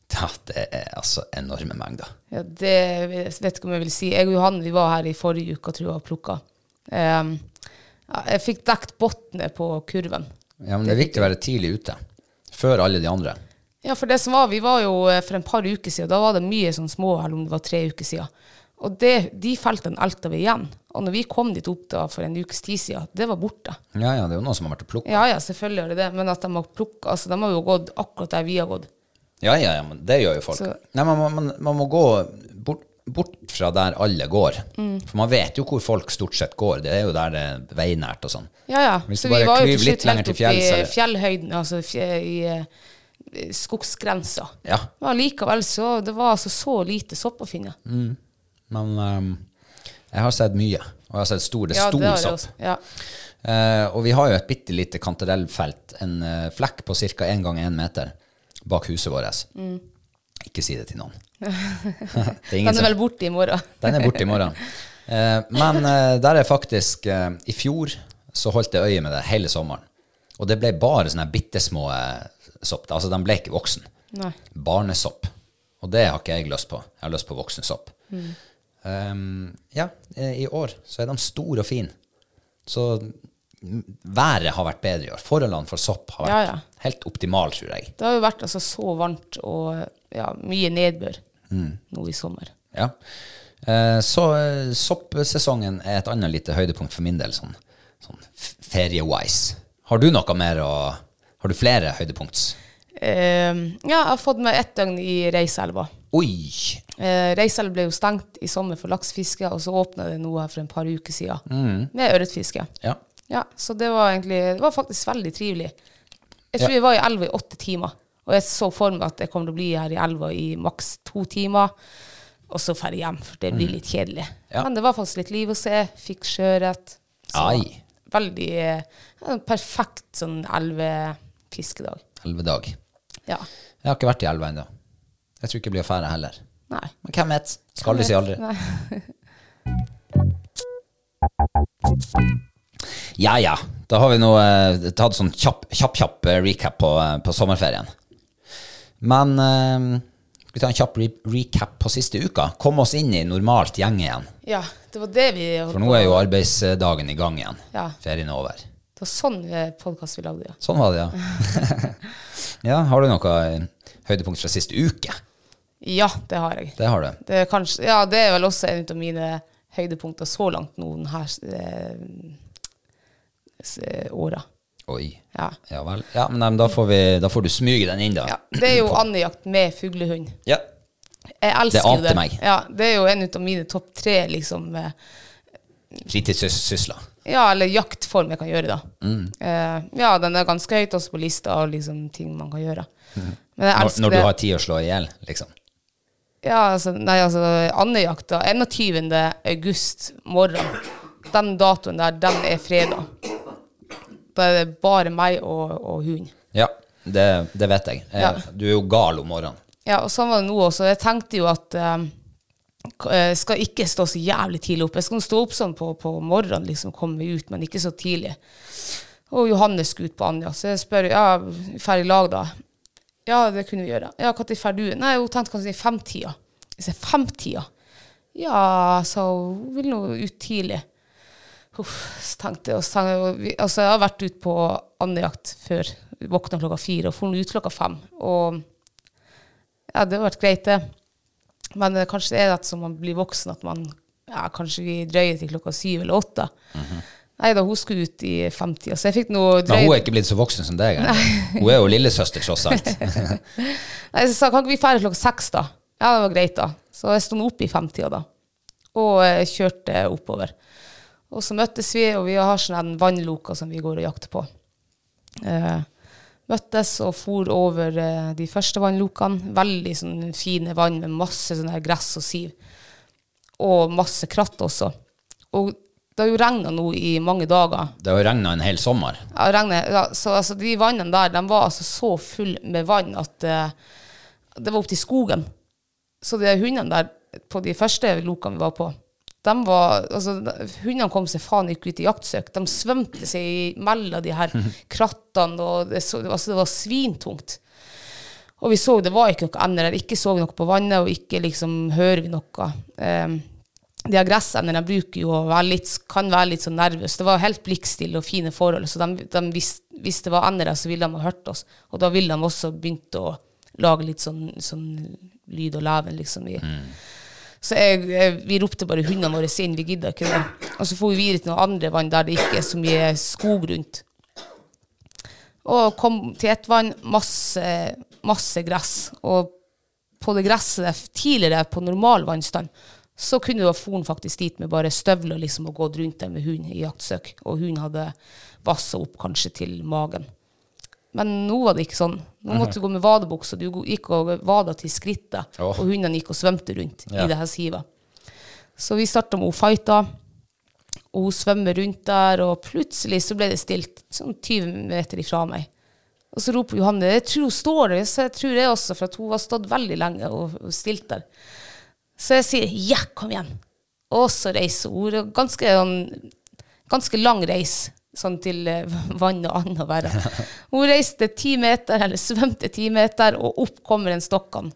[SPEAKER 1] da, det er altså enorme mengder.
[SPEAKER 2] Ja, det jeg vet ikke om jeg vil si. Jeg og Johan vi var her i forrige uke tror jeg, og plukka. Ehm, ja, jeg fikk dekt bunnen på kurven.
[SPEAKER 1] Ja, men det er viktig å være tidlig ute. Før alle de andre.
[SPEAKER 2] Ja, for det som var, Vi var jo eh, for en par uker siden, da var det mye sånn små, eller om det var tre uker siden. Og det, de feltene elta vi igjen. Og når vi kom dit opp da for en ukes tid siden, det var borte.
[SPEAKER 1] Ja, ja, det er jo noen som har vært og plukket.
[SPEAKER 2] Ja ja, selvfølgelig er det det, men at de har plukka altså, De har jo gått akkurat der vi har gått.
[SPEAKER 1] Ja, ja, ja, men det gjør jo folk.
[SPEAKER 2] Så-
[SPEAKER 1] Nei, man, må- man, man må gå bort, bort fra der alle går.
[SPEAKER 2] Mm.
[SPEAKER 1] For man vet jo hvor folk stort sett går. Det er jo der det er veinært og sånn.
[SPEAKER 2] Ja, ja.
[SPEAKER 1] Hvis
[SPEAKER 2] så
[SPEAKER 1] du
[SPEAKER 2] vi
[SPEAKER 1] bare
[SPEAKER 2] var jo
[SPEAKER 1] klyver litt
[SPEAKER 2] til slutt
[SPEAKER 1] lenger
[SPEAKER 2] helt
[SPEAKER 1] til
[SPEAKER 2] oppe i
[SPEAKER 1] fjells,
[SPEAKER 2] eh,
[SPEAKER 1] eller-
[SPEAKER 2] fjellhøyden, altså fje, i eh, skogsgrensa.
[SPEAKER 1] Ja.
[SPEAKER 2] Men allikevel så det var altså så lite sopp å finne.
[SPEAKER 1] Men ehm, jeg har sett mye. Og jeg har sett stor, det er stor
[SPEAKER 2] har jeg
[SPEAKER 1] sopp.
[SPEAKER 2] også. Ja.
[SPEAKER 1] Eh, og vi har jo et bitte lite kantarellfelt, en eh, flekk på ca. 1 gang 1 meter bak huset vårt. Ikke si det til noen. det er
[SPEAKER 2] Mm. Den
[SPEAKER 1] som-
[SPEAKER 2] er vel borte i morgen.
[SPEAKER 1] Den er borte i morgen. Eh, men eh, der er faktisk eh, I fjor så holdt jeg øye med det hele sommeren. Og det ble bare sånne bitte små eh, sopp. Altså, de ble ikke voksen.
[SPEAKER 2] Nei.
[SPEAKER 1] Barnesopp. Og det har ikke jeg lyst på. Jeg har lyst på voksen sopp.
[SPEAKER 2] Mm.
[SPEAKER 1] Um, ja, eh, i år så er de store og fine. Så mm, været har vært bedre i år. Forholdene for sopp har vært
[SPEAKER 2] Ja, ja.
[SPEAKER 1] helt optimale, tror jeg.
[SPEAKER 2] Det har jo vært altså så varmt og ja, mye nedbør nå i sommer.
[SPEAKER 1] Ja. Eh, Så eh, soppsesongen er et annet lite høydepunkt for min del, sånn, sånn f- ferie-wise. Har du noe mer å Har du flere høydepunkts?
[SPEAKER 2] Ehm, ja, jeg har fått meg ett døgn i Reiselva.
[SPEAKER 1] Oi!
[SPEAKER 2] Eh, Reiselva ble jo stengt i sommer for laksefiske, og så åpna det nå her for en par uker siden med ørretfiske.
[SPEAKER 1] Ja.
[SPEAKER 2] Ja, så det var egentlig Det var faktisk veldig trivelig. Jeg tror jeg var i elva i åtte timer, og jeg så for meg at jeg kom til å bli her i elva i maks to timer, og så dra hjem, for det blir litt kjedelig.
[SPEAKER 1] Mm. Ja.
[SPEAKER 2] Men det var faktisk litt liv å se. Fikk sjøørret. Så
[SPEAKER 1] Ai.
[SPEAKER 2] Veldig eh, en perfekt sånn elvefiskedag.
[SPEAKER 1] Elvedag.
[SPEAKER 2] Ja.
[SPEAKER 1] Jeg har ikke vært i elva ennå. Jeg tror ikke jeg blir affære heller.
[SPEAKER 2] Nei.
[SPEAKER 1] Men hvem vet? Skal aldri si aldri. Ja ja, da har vi nå eh, tatt sånn kjapp, kjapp, kjapp eh, recap på, eh, på sommerferien. Men eh, skal vi ta en kjapp re recap på siste uka? Komme oss inn i normalt gjeng igjen.
[SPEAKER 2] ja, det var det vi
[SPEAKER 1] For nå er jo arbeidsdagen i gang igjen.
[SPEAKER 2] Ja.
[SPEAKER 1] Ferien er over.
[SPEAKER 2] Det var sånn podkast vi lagde, ja.
[SPEAKER 1] Sånn var det, ja. ja, har du noe eh, høydepunkt fra siste uke?
[SPEAKER 2] Ja, det har jeg.
[SPEAKER 1] Det har du.
[SPEAKER 2] Det er, kanskje, ja, det er vel også en av mine høydepunkter så langt nå denne eh, s- eh, åra.
[SPEAKER 1] Oi.
[SPEAKER 2] Ja.
[SPEAKER 1] Ja eh, vel. Ja, men nei, men da får, vi, da får du smyge den inn, da.
[SPEAKER 2] ja. Det er jo andejakt med fuglehund.
[SPEAKER 1] Ja.
[SPEAKER 2] Jeg elsker
[SPEAKER 1] Det
[SPEAKER 2] jo
[SPEAKER 1] ante meg.
[SPEAKER 2] Ja, det er jo en av mine topp tre, liksom. eh,
[SPEAKER 1] Fritidssysler.
[SPEAKER 2] Ja, eller jaktform jeg kan gjøre, da.
[SPEAKER 1] Mm.
[SPEAKER 2] Eh, ja, den er ganske høyt også på lista av liksom, ting man kan gjøre. Men jeg
[SPEAKER 1] Mm. Når,
[SPEAKER 2] elsker
[SPEAKER 1] når du
[SPEAKER 2] det.
[SPEAKER 1] har tid å slå i hjel, liksom.
[SPEAKER 2] Ja, altså, nei, altså, andejakta 21. august morgen. Den datoen der, den er fredag. Da er det bare meg og, og hund.
[SPEAKER 1] Ja, det, det vet jeg. Eh,
[SPEAKER 2] Ja.
[SPEAKER 1] Du er jo gal om morgenen.
[SPEAKER 2] Ja, og sånn var det nå også. Jeg tenkte jo at eh, k- eh, skal ikke stå så jævlig tidlig opp. Jeg skal stå opp sånn på, på morgenen, liksom, komme meg ut, men ikke så tidlig. Og Johannes skulle ut på Anja, så jeg spør ja, drar i lag da. Ja, det kunne vi gjøre. Ja, når drar du? Nei, hun tenkte kanskje i femtida. Jeg sier femtida? Ja, så hun vil nå ut tidlig. Uff, så tenkte jeg, og så tenkte jeg og vi, altså jeg har vært ute på andejakt før. Våkna klokka fire og for ut klokka fem. Og ja, det har vært greit, det. Men eh, kanskje det er at som man blir voksen, at man ja, kanskje vi drøyer til klokka syv eller åtte. Nei da, hun skulle ut i femtida, så jeg fikk noe
[SPEAKER 1] Men Mhm. hun er
[SPEAKER 2] drøyt.
[SPEAKER 1] ikke blitt så voksen som deg. eller? Hun er jo lillesøster, tross alt.
[SPEAKER 2] Nei, så sa jeg, kan ikke vi dra klokka seks, da? Ja, det var greit, da. Så jeg sto nå opp i femtida, da. Og eh, kjørte oppover. Og så møttes vi, og vi har sånn en vannloka som vi går og jakter på. eh, møttes og for over eh, de første vannlokene. Veldig sånn fine vann med masse sånn her gress og siv. Og masse kratt også. Og det har jo regna nå i mange dager.
[SPEAKER 1] Det har jo regna en hel sommer.
[SPEAKER 2] Ja, og regnet, ja, så altså, de vannene der de var altså så full med vann at eh, det var opp til skogen. Så de hundene der på de første lokene vi var på, de var, altså, de- hundene kom seg faen ikke ut i jaktsøk. De svømte seg mellom de her krattene, og det, så, altså, det var svintungt. Og vi så det var ikke noe ender der. Ikke så vi noe på vannet, og ikke liksom hører vi noe. Um, de her gressendene de bruker jo å være litt, kan være litt sånn nervøse. Det var helt blikkstille og fine forhold, så de, de visste, hvis det var ender der, så ville de ha hørt oss. Og da ville de også begynt å lage litt sånn, sånn lyd og leven, liksom. I. Så jeg, jeg, vi ropte bare hundene våre inn, vi gidda ikke det. Og så får vi videre til noen andre vann der det ikke er så mye skog rundt. Og kom til et vann, masse, masse gress. Og på det gresset der, tidligere på normal vannstand, så kunne du ha foren faktisk dit med bare støvler liksom, og gått rundt der med hund i jaktsøk. Og hunden hadde vassa opp kanskje til magen. Men nå var det ikke sånn. Nå måtte du gå med vadebukse, og du gikk og vada til skrittet.
[SPEAKER 1] Åh.
[SPEAKER 2] Og hundene gikk og svømte rundt
[SPEAKER 1] Ja.
[SPEAKER 2] i det her sivet. Så vi starta med hun fighta, og hun svømmer rundt der, og plutselig så ble det stilt sånn 20 meter ifra meg. Og så roper Johanne Jeg tror hun står der, så jeg tror det også, for at hun har stått veldig lenge og og stilt der. Så jeg sier 'ja, kom igjen'. Og så reiser hun. og Ganske, sånn- ganske lang reis sånn til eh, vann og annet verre. Hun reiste ti meter, eller svømte ti meter, og opp kommer den stokken.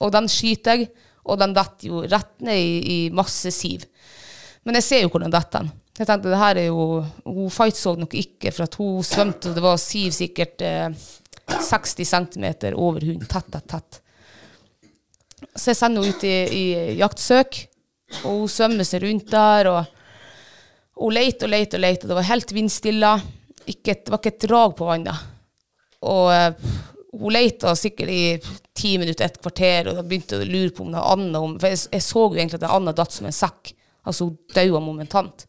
[SPEAKER 2] Og den skyter jeg, og den detter jo rett ned i, i masse siv. Men jeg ser jo hvordan dette er. Jeg tenkte, det her er jo, Hun fight så nok ikke, for at hun svømte, og det var siv sikkert eh, 60 cm over hunden. Tett, tett, tett. Så jeg sender henne ut i, i jaktsøk, og hun svømmer seg rundt der. og Hun leter og leter og leter. Det var helt vindstille. Ikke, et- det var ikke et drag på vannet. Og eh, hun leita sikkert i ti minutter, et kvarter, og da begynte jeg å lure på om det var Anna om, For jeg, jeg så jo egentlig at Anna datt som en sekk. Altså, hun daua momentant.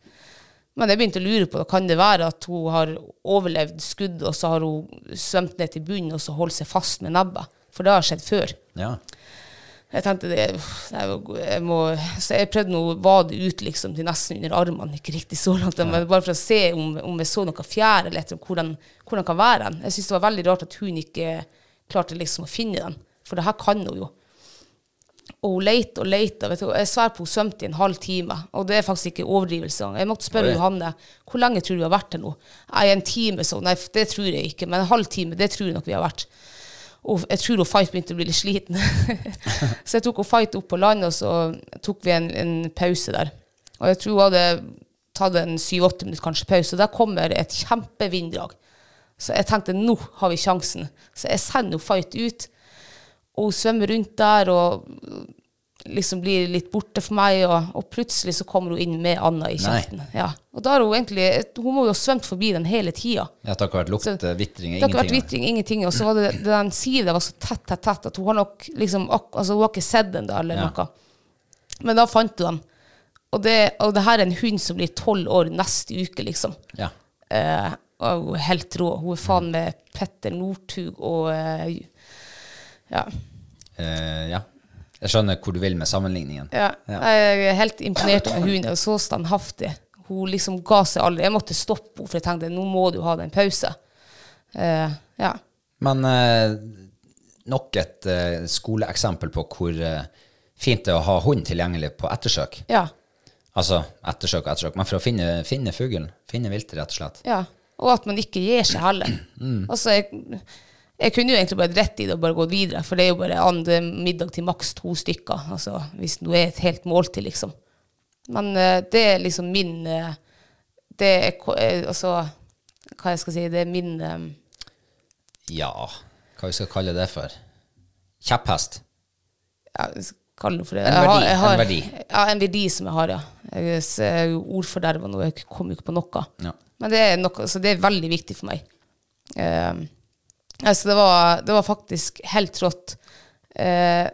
[SPEAKER 2] Men jeg begynte å lure på kan det være at hun har overlevd skudd, og så har hun svømt ned til bunnen og så holdt seg fast med nebbet. For det har skjedd før.
[SPEAKER 1] Ja.
[SPEAKER 2] Jeg tenkte det, uff, det er jo- jeg må, Så jeg prøvde nå å vade ut liksom, til nesten under armene, ikke riktig så langt, men bare for å se om, om jeg så noe fjær, eller et eller annet, hvor den, hvor den kan være. den. Jeg syns det var veldig rart at hun ikke klarte liksom å finne den, for det her kan hun jo. Og hun leita og leita. vet du, og Jeg sverger på hun svømte i en halv time. Og det er faktisk ikke overdrivelse. engang. Jeg måtte spørre
[SPEAKER 1] Oi.
[SPEAKER 2] Johanne hvor lenge tror du vi har vært her nå. Nei, en time, så. Nei, det tror jeg ikke. Men en halv time, det tror jeg nok vi har vært. Og jeg tror hun Fight begynte å bli litt sliten. så jeg tok hun Fight opp på land, og så tok vi en, en pause der. Og jeg tror hun hadde tatt en syv-åtte minutter kanskje pause. Og der kommer et kjempevinddrag. Så jeg tenkte nå har vi sjansen. Så jeg sender hun Fight ut, og hun svømmer rundt der og liksom blir litt borte for meg, og, og plutselig så kommer hun inn med Anna i
[SPEAKER 1] Nei.
[SPEAKER 2] kjeften. Ja. Og da har hun egentlig Hun må jo ha svømt forbi den hele tida.
[SPEAKER 1] Ja, det har ikke vært lukt,
[SPEAKER 2] Så-
[SPEAKER 1] vitring,
[SPEAKER 2] Det har ikke
[SPEAKER 1] eh,
[SPEAKER 2] vært
[SPEAKER 1] ingenting.
[SPEAKER 2] vitring, ingenting. Og så var det, det den sida var så tett, tett, tett at hun har nok liksom ak Altså, hun har ikke sett den da, eller
[SPEAKER 1] Ja.
[SPEAKER 2] noe. Men da fant hun den. Og det, og det her er en hund som blir tolv år neste uke, liksom.
[SPEAKER 1] Ja.
[SPEAKER 2] Eh, og hun er helt rå. Hun er faen med Petter Northug og eh, ja.
[SPEAKER 1] Eh, ja. Jeg skjønner hvor du vil med sammenligningen.
[SPEAKER 2] ja. Jeg er helt imponert over hunden. Og så standhaftig. Hun liksom ga seg aldri. Jeg måtte stoppe henne, for jeg tenkte nå må du ha deg en pause. Eh, ja.
[SPEAKER 1] Men eh, nok et eh, skoleeksempel på hvor eh, fint det er å ha hund tilgjengelig på ettersøk.
[SPEAKER 2] ja.
[SPEAKER 1] Altså ettersøk og ettersøk, men for å finne, finne fuglen. Finne viltet, rett og slett.
[SPEAKER 2] Ja. Og at man ikke gir seg heller.
[SPEAKER 1] Mm.
[SPEAKER 2] Altså, jeg, jeg kunne jo egentlig bare rett i det og bare gått videre, for det er jo bare andre middag til maks to stykker. Altså, hvis det nå er et helt måltid, liksom. Men eh, det er liksom min eh, Det er ko- eh, altså Hva jeg skal si Det er min eh,
[SPEAKER 1] Ja, hva vi skal kalle det for? Kjepphest.
[SPEAKER 2] ja, hva skal jeg kalle det for det.
[SPEAKER 1] En
[SPEAKER 2] Jeg
[SPEAKER 1] verdi,
[SPEAKER 2] har- jeg har-
[SPEAKER 1] en verdi.
[SPEAKER 2] Ja, en verdi som jeg har, ja. Jeg er s- jeg er jo ordforderva nå, jeg kommer jo ikke på noe.
[SPEAKER 1] Ja.
[SPEAKER 2] Men det er, noe, så det er veldig viktig for meg. Eh, altså det, var, det var faktisk helt rått. Eh,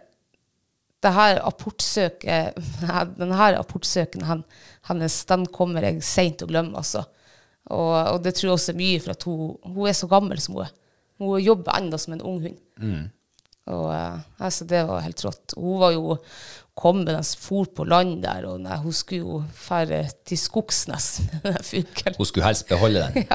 [SPEAKER 2] det her apportsøket Den her apportsøken hen- hennes, den kommer jeg seint å glemme, altså. Og, og det tror jeg også er mye for at hun, hun er så gammel som hun er. Hun jobber ennå som en ung hund. Og eh, altså, det var helt rått. Hun var jo kom med den for på land der, og nei, hun skulle jo fære til skogs nesten, den fuglen.
[SPEAKER 1] Hun skulle helst beholde den.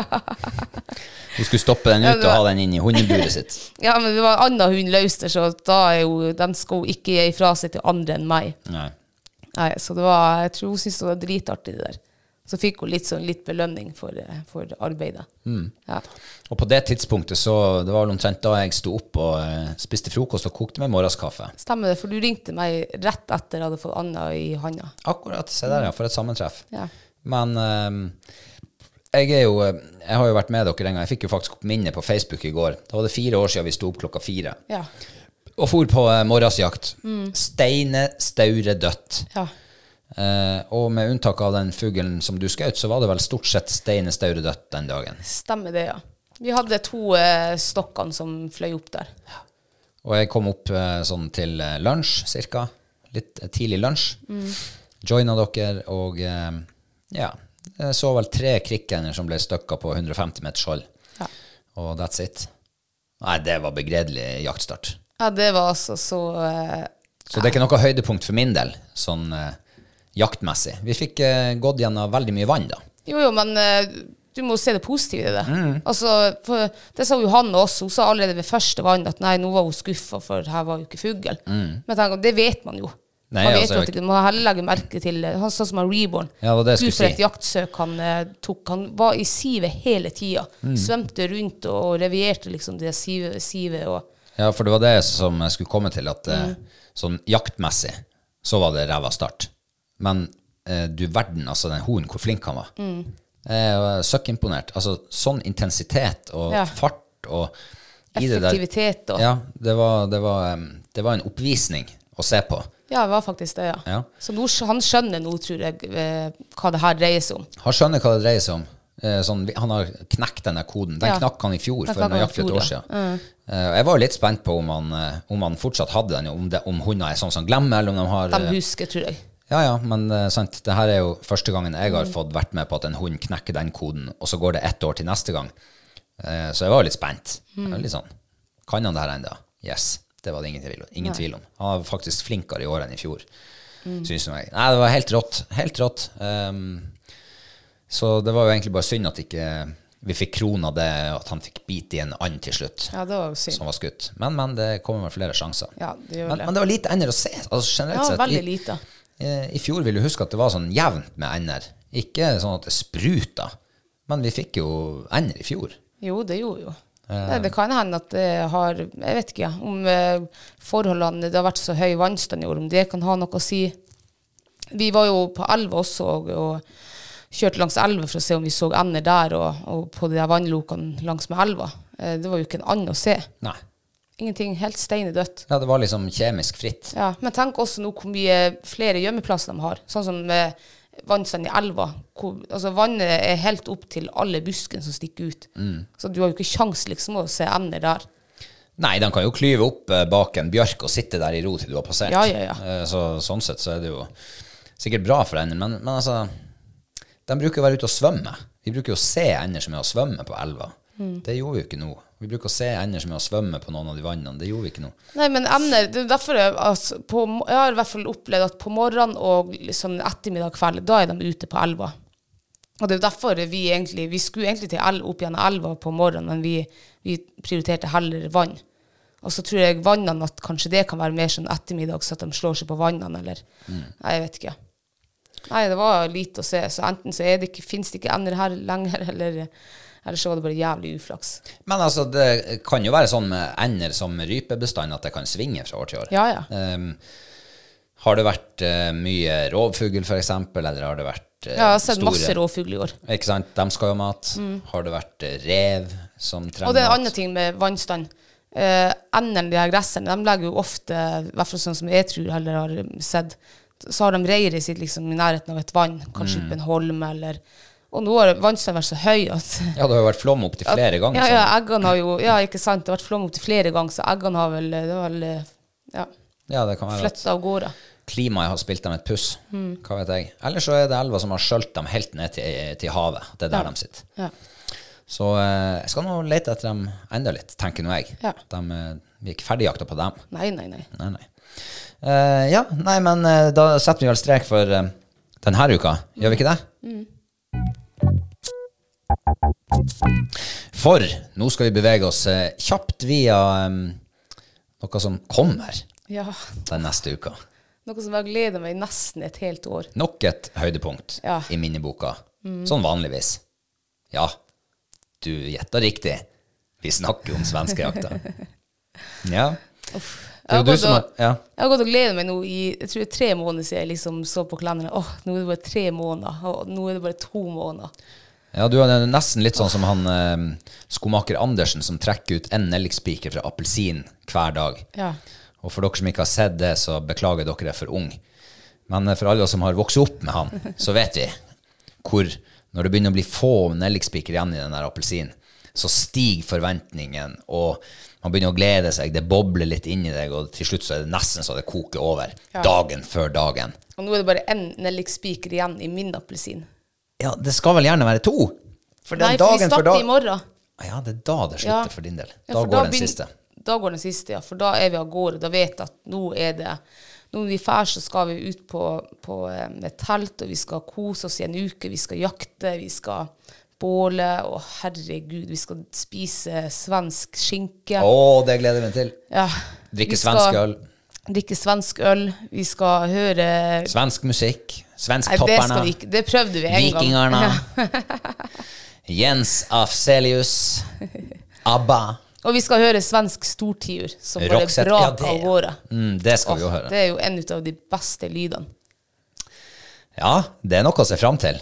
[SPEAKER 1] Hun skulle stoppe den ut
[SPEAKER 2] Ja, det
[SPEAKER 1] og ha
[SPEAKER 2] var-
[SPEAKER 1] den inn i hundeburet sitt.
[SPEAKER 2] Ja, men det var en annen hund løs der, så da er jo, den skal hun ikke gi fra seg til andre enn meg.
[SPEAKER 1] Nei.
[SPEAKER 2] Nei, så det var, jeg tror hun syntes det var dritartig det der. Så fikk hun litt sånn litt belønning for, eh, for arbeidet. Ja.
[SPEAKER 1] Og på det tidspunktet så Det var vel omtrent da jeg sto opp og eh, spiste frokost og kokte meg morgenskaffe.
[SPEAKER 2] Stemmer det, for du ringte meg rett etter jeg hadde fått Anna i handa.
[SPEAKER 1] Akkurat. Se der, ja. For et sammentreff.
[SPEAKER 2] Ja.
[SPEAKER 1] Men ehm, jeg er jo eh, Jeg har jo vært med dere en gang. Jeg fikk jo faktisk opp minnet på Facebook i går. Da var det fire år siden vi sto opp klokka fire
[SPEAKER 2] Ja.
[SPEAKER 1] og for på eh, morgensjakt.
[SPEAKER 2] Mm.
[SPEAKER 1] Steine staure dødt.
[SPEAKER 2] Ja.
[SPEAKER 1] Eh, og med unntak av den fuglen som du skjøt, så var det vel stort sett steine staure dødt den dagen.
[SPEAKER 2] Stemmer det, ja. Vi hadde to eh, stokkene som fløy opp der.
[SPEAKER 1] Og jeg kom opp eh, sånn til eh, lunsj, cirka. Litt eh, tidlig lunsj. Joina dere, og eh, ja, jeg så vel tre krikkender som ble støkka på 150 meters hold.
[SPEAKER 2] Ja.
[SPEAKER 1] Og that's it. Nei, det var begredelig jaktstart.
[SPEAKER 2] Ja, det var altså så eh,
[SPEAKER 1] Så det er ikke noe høydepunkt for min del, sånn eh, jaktmessig. Vi fikk eh, gått gjennom veldig mye vann, da.
[SPEAKER 2] Jo, jo, men eh, du må se det positive i det.
[SPEAKER 1] Mm.
[SPEAKER 2] Altså, for, det sa Johanne også. Hun sa allerede ved første vann at nei, nå var hun skuffa, for her var jo ikke fugl. Men jeg tenker, det vet man jo.
[SPEAKER 1] Mm. Nei,
[SPEAKER 2] man vet
[SPEAKER 1] altså,
[SPEAKER 2] jo at det ikke Man heller legger merke til eh, han Sånn som han Reborn.
[SPEAKER 1] Ja, det var det jeg
[SPEAKER 2] Gud,
[SPEAKER 1] skulle
[SPEAKER 2] for et
[SPEAKER 1] si.
[SPEAKER 2] jaktsøk han eh, tok. Han var i sivet hele tida.
[SPEAKER 1] Mm.
[SPEAKER 2] Svømte rundt og revierte liksom det sivet. sivet og,
[SPEAKER 1] Ja, for det var det som jeg skulle komme til, at eh,
[SPEAKER 2] Mm.
[SPEAKER 1] sånn jaktmessig så var det ræva start. Men eh, du verden, altså den hoen, hvor flink han var.
[SPEAKER 2] Mm.
[SPEAKER 1] Jeg var søkkimponert. Altså sånn intensitet og
[SPEAKER 2] Ja.
[SPEAKER 1] fart og i det der-
[SPEAKER 2] Effektivitet og-
[SPEAKER 1] Ja, det var, det, var, em, det var en oppvisning å se på.
[SPEAKER 2] ja, det var faktisk det, ja.
[SPEAKER 1] Ja.
[SPEAKER 2] Så nå, skj- han skjønner nå, tror jeg, eh, hva det her dreier seg om.
[SPEAKER 1] Han skjønner hva det dreier seg om. Eh, Sånn, vi- han har knekt denne koden. Den
[SPEAKER 2] Ja.
[SPEAKER 1] knakk han i fjor,
[SPEAKER 2] Den
[SPEAKER 1] for
[SPEAKER 2] knakk han i
[SPEAKER 1] nøyaktig et
[SPEAKER 2] fjor,
[SPEAKER 1] år
[SPEAKER 2] ja.
[SPEAKER 1] siden. Eh, og Jeg var jo litt spent på om han, eh, om han fortsatt hadde den, om, det- om hunder er sånn som glemmer, eller om de har eh,
[SPEAKER 2] De husker, tror jeg.
[SPEAKER 1] Ja, ja, men eh, sant, det her er jo første gangen jeg har fått vært med på at en hund knekker den koden, og så går det ett år til neste gang. Eh, så jeg var jo litt spent. Jeg var litt sånn, kan han det her enda? Yes, det var det ingen tvil, ingen tvil om. Han var faktisk flinkere i år enn i fjor, synes jeg. Nei, det var helt rått, helt rått. Ehm, så det var jo egentlig bare synd at ikke vi fikk krona det, at han fikk bit i en and til slutt,
[SPEAKER 2] Ja, det var jo synd.
[SPEAKER 1] som var skutt. Men, men, det kommer vel flere sjanser.
[SPEAKER 2] Ja, det gjør
[SPEAKER 1] men,
[SPEAKER 2] det.
[SPEAKER 1] men det var lite ender å se, altså generelt
[SPEAKER 2] Ja,
[SPEAKER 1] sett.
[SPEAKER 2] veldig
[SPEAKER 1] i-
[SPEAKER 2] lite.
[SPEAKER 1] Eh, I fjor vil du huske at det var sånn jevnt med ender. Ikke sånn at det spruta. Men vi fikk jo ender i fjor.
[SPEAKER 2] Jo, det gjorde jo. Nei, det kan hende at det har Jeg vet ikke ja, om eh, forholdene Det har vært så høy vannstand i år, om det kan ha noe å si. Vi var jo på elva også og, og kjørte langs elva for å se om vi så ender der og, og på de der vannlokene langs med elva. Eh, det var jo ikke en and å se.
[SPEAKER 1] Nei.
[SPEAKER 2] Ingenting. Helt steinedødt.
[SPEAKER 1] Ja, det var liksom kjemisk fritt.
[SPEAKER 2] Ja, men tenk også nå hvor mye flere gjemmeplasser de har. Sånn som eh, vannstand i elva. Hvor, altså Vannet er helt opp til alle buskene som stikker ut. Så du har jo ikke kjangs liksom å se emner der.
[SPEAKER 1] Nei, de kan jo klyve opp eh, bak en bjørk og sitte der i ro til du har passert.
[SPEAKER 2] Ja, ja, ja.
[SPEAKER 1] Eh, Så, sånn sett så er det jo sikkert bra for ender, men, men altså De bruker å være ute og svømme. Vi bruker jo å se ender som er å svømme på elva.
[SPEAKER 2] Mm.
[SPEAKER 1] Det gjorde vi jo ikke nå. Vi bruker å se ender som er å svømme på noen av de vannene. Det gjorde vi ikke nå.
[SPEAKER 2] Nei, men emner Det er derfor jeg, altså, på, mo- jeg har i hvert fall opplevd at på morgenen og liksom ettermiddag kveld, da er de ute på elva. Og det er jo derfor vi egentlig Vi skulle egentlig til el, opp gjennom elva på morgenen, men vi, vi prioriterte heller vann. Og så tror jeg vannene at kanskje det kan være mer sånn ettermiddag, så at de slår seg på vannene, eller Nei, jeg vet ikke. Nei, det var lite å se. Så enten så er det ikke, finnes det ikke ender her lenger, eller, eller så var det bare jævlig uflaks.
[SPEAKER 1] Men altså, det kan jo være sånn med ender som rypebestand at det kan svinge fra år til år.
[SPEAKER 2] Ja, ja.
[SPEAKER 1] Ehm, har det vært eh, mye rovfugl, f.eks., eller har det vært eh,
[SPEAKER 2] Ja, jeg har sett
[SPEAKER 1] store-
[SPEAKER 2] masse rovfugl i år.
[SPEAKER 1] Ikke sant? De skal jo ha mat. Har det vært eh, rev som trenger
[SPEAKER 2] Og det er en
[SPEAKER 1] mat?
[SPEAKER 2] annen ting med vannstand. Eh, Endene, de her gresserne, de legger jo ofte, i hvert fall sånn som jeg tror heller har sett, så har de reiret sitt liksom i nærheten av et vann,
[SPEAKER 1] Mm.
[SPEAKER 2] kanskje oppe en holm eller Og nå har vannstanden vært så høy at
[SPEAKER 1] Ja, det har jo vært flom opptil flere ganger.
[SPEAKER 2] Ja, ja,
[SPEAKER 1] sånn.
[SPEAKER 2] eggene har jo Ja, ikke sant, det har vært flom opptil flere ganger, så eggene har vel, det har vel eh, ja,
[SPEAKER 1] ja, det kan være at
[SPEAKER 2] flytta av gårde.
[SPEAKER 1] klimaet har spilt dem et puss.
[SPEAKER 2] Mm.
[SPEAKER 1] Hva vet jeg. Eller så er det elva som har skjølt dem helt ned til, eh, til havet. Det er der de sitter.
[SPEAKER 2] Ja.
[SPEAKER 1] Så eh, jeg skal nå lete etter dem enda litt, tenker nå jeg.
[SPEAKER 2] Ja.
[SPEAKER 1] De, eh, vi er ikke ferdigjakta på dem.
[SPEAKER 2] Nei, nei, nei.
[SPEAKER 1] Nei, nei. Eh, ja, nei, men eh, da setter vi vel strek for eh, denne uka, gjør vi ikke det? For nå skal vi bevege oss eh, kjapt via eh, noe som kommer
[SPEAKER 2] Ja.
[SPEAKER 1] den neste uka.
[SPEAKER 2] Noe som jeg har gleda meg i nesten et helt år.
[SPEAKER 1] Nok et høydepunkt
[SPEAKER 2] Ja.
[SPEAKER 1] i minneboka, sånn vanligvis. Ja, du gjetta riktig. Vi snakker om svenskejakta. ja. Det er
[SPEAKER 2] Jeg
[SPEAKER 1] jo du
[SPEAKER 2] har gått
[SPEAKER 1] som har
[SPEAKER 2] og-
[SPEAKER 1] ja.
[SPEAKER 2] Jeg har gått og gledet meg nå i jeg tror det er tre måneder siden jeg liksom så på kalenderen. Åh, nå er det bare tre måneder. Og nå er det bare to måneder.
[SPEAKER 1] Ja, du er nesten litt sånn som han eh, skomaker Andersen som trekker ut en nellikspiker fra appelsin hver dag.
[SPEAKER 2] Ja.
[SPEAKER 1] Og for dere som ikke har sett det, så beklager dere er for ung. Men eh, for alle oss som har vokst opp med han, så vet vi hvor Når det begynner å bli få nellikspiker igjen i den der appelsinen, så stiger forventningen, og man begynner å glede seg, det bobler litt inni deg, og til slutt så er det nesten så det koker over. Dagen før dagen.
[SPEAKER 2] Og nå er det bare én nellikspiker igjen i min appelsin.
[SPEAKER 1] Ja, det skal vel gjerne være to? For den
[SPEAKER 2] Nei, for vi
[SPEAKER 1] dagen for
[SPEAKER 2] starter
[SPEAKER 1] dag-
[SPEAKER 2] i morgen.
[SPEAKER 1] Ah, Ja, det er da det slutter
[SPEAKER 2] Ja.
[SPEAKER 1] for din del.
[SPEAKER 2] Ja,
[SPEAKER 1] Da
[SPEAKER 2] for
[SPEAKER 1] går den
[SPEAKER 2] begyn-
[SPEAKER 1] siste.
[SPEAKER 2] Da går den siste, ja. For da er vi av gårde. Da vet jeg at nå er det Nå når vi drar, så skal vi ut på, på eh, med telt, og vi skal kose oss i en uke. Vi skal jakte, vi skal båle. Å, herregud, vi skal spise svensk skinke.
[SPEAKER 1] Å, det gleder jeg meg til.
[SPEAKER 2] Ja.
[SPEAKER 1] Drikke
[SPEAKER 2] Vi skal
[SPEAKER 1] svensk øl,
[SPEAKER 2] Drikke svensk øl. Vi skal høre
[SPEAKER 1] svensk musikk,
[SPEAKER 2] Nei, det skal
[SPEAKER 1] svensktopperne,
[SPEAKER 2] vi ikke. Det prøvde vi en
[SPEAKER 1] vikingerne,
[SPEAKER 2] gang.
[SPEAKER 1] Jens Afselius, ABBA.
[SPEAKER 2] Og vi skal høre svensk stortiur, som bare
[SPEAKER 1] Roxette. Ja,
[SPEAKER 2] brak
[SPEAKER 1] det,
[SPEAKER 2] av
[SPEAKER 1] ja.
[SPEAKER 2] gårde.
[SPEAKER 1] Mm, det skal vi jo
[SPEAKER 2] Åh,
[SPEAKER 1] høre.
[SPEAKER 2] Det er jo en av de beste lydene.
[SPEAKER 1] Ja, det er noe å se fram til.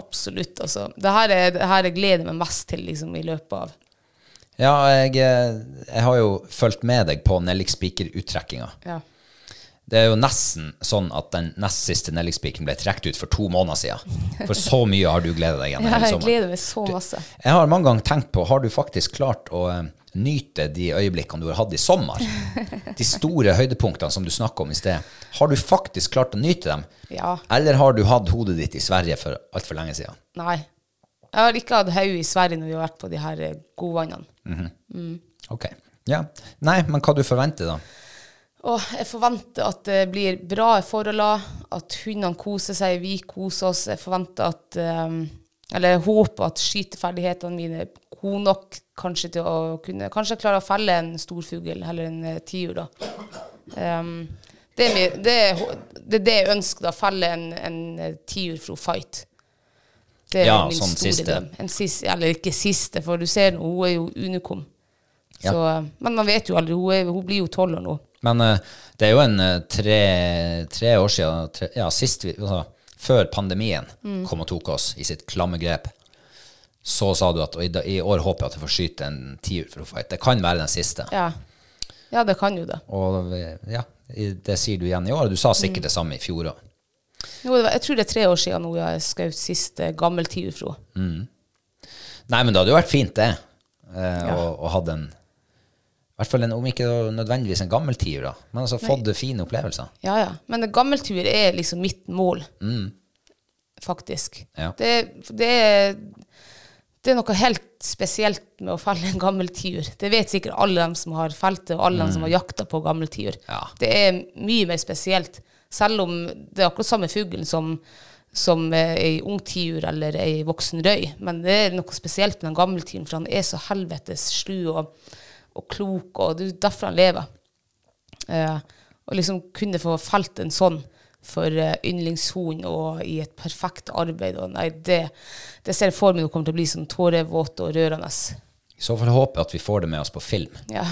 [SPEAKER 2] Absolutt, altså. Det her er det her jeg gleder meg mest til liksom, i løpet av
[SPEAKER 1] Ja, jeg, eh, jeg har jo fulgt med deg på Nellik Spiker-uttrekkinga.
[SPEAKER 2] ja.
[SPEAKER 1] Det er jo nesten sånn at den nest siste Nellik Spikeren ble trukket ut for to måneder siden. For så mye har du gleda deg gjennom hele
[SPEAKER 2] Jeg
[SPEAKER 1] sommeren.
[SPEAKER 2] gleder meg så masse.
[SPEAKER 1] Jeg har mange ganger tenkt på, har du faktisk klart å eh, nyte de øyeblikkene du har hatt i sommer? De store høydepunktene som du snakket om i sted. Har du faktisk klart å nyte dem?
[SPEAKER 2] Ja.
[SPEAKER 1] Eller har du hatt hodet ditt i Sverige for altfor lenge siden?
[SPEAKER 2] Nei. Jeg har ikke hatt hode i Sverige når vi har vært på de her eh, godvannene.
[SPEAKER 1] Ok. Ja. Nei, men hva du forventer da?
[SPEAKER 2] Og jeg forventer at det blir bra forhold, at hundene koser seg, vi koser oss. Jeg forventer at eh, Eller jeg håper at skyteferdighetene mine er gode nok kanskje til å kunne Kanskje jeg klarer å felle en storfugl eller en eh, tiur, da. Ehm, det, er mi- det, er, hå- det er det jeg ønsker, da. Felle en, en eh, tiur fra fight. Det er
[SPEAKER 1] Ja,
[SPEAKER 2] min
[SPEAKER 1] sånn
[SPEAKER 2] store
[SPEAKER 1] siste.
[SPEAKER 2] drøm. En siste. Eller ikke siste, for du ser nå, hun er jo unikum. Så, eh, men man vet jo aldri. Hun, er, hun blir jo tolv år nå.
[SPEAKER 1] Men eh, det er jo en eh, tre, tre år siden, tre, ja, sist vi, altså, før pandemien kom og tok oss i sitt klamme grep, så sa du at «Og i, da- i år håper jeg at du får skyte en tiur for å fight. Det kan være den siste.
[SPEAKER 2] Ja. Ja, det kan jo det.
[SPEAKER 1] Og eh, ja, i- det sier du igjen i år. Du sa sikkert det samme i fjor òg.
[SPEAKER 2] Jo, det var, jeg tror det er tre år siden nå jeg skjøt siste gammel tiurfro.
[SPEAKER 1] Nei, men det hadde jo vært fint, det. Eh, og, og hadde en i hvert fall en, om ikke nødvendigvis en gammel tiur, da. Men altså fått fine opplevelser.
[SPEAKER 2] Ja, ja. Men en gammel tur er liksom mitt mål, faktisk.
[SPEAKER 1] Mm. Ja.
[SPEAKER 2] Det, det, er, det er noe helt spesielt med å felle en gammel tiur. Det vet sikkert alle dem som har felt det, og alle dem som har jakta på gammel tiur.
[SPEAKER 1] Mm. Ja.
[SPEAKER 2] Det er mye mer spesielt, selv om det er akkurat samme fuglen som som eh, ei ung tiur eller ei voksen røy. Men det er noe spesielt med den gamle tiuren, for han er så helvetes slu og, og klok, og det er jo derfor han lever. Eh, og liksom kunne få felt en sånn for eh, yndlingshunden og i et perfekt arbeid. Og nei, det, det ser jeg for meg nå kommer til å bli sånn tårevåt og rørende.
[SPEAKER 1] I så fall håper jeg at vi får det med oss på film.
[SPEAKER 2] Ja,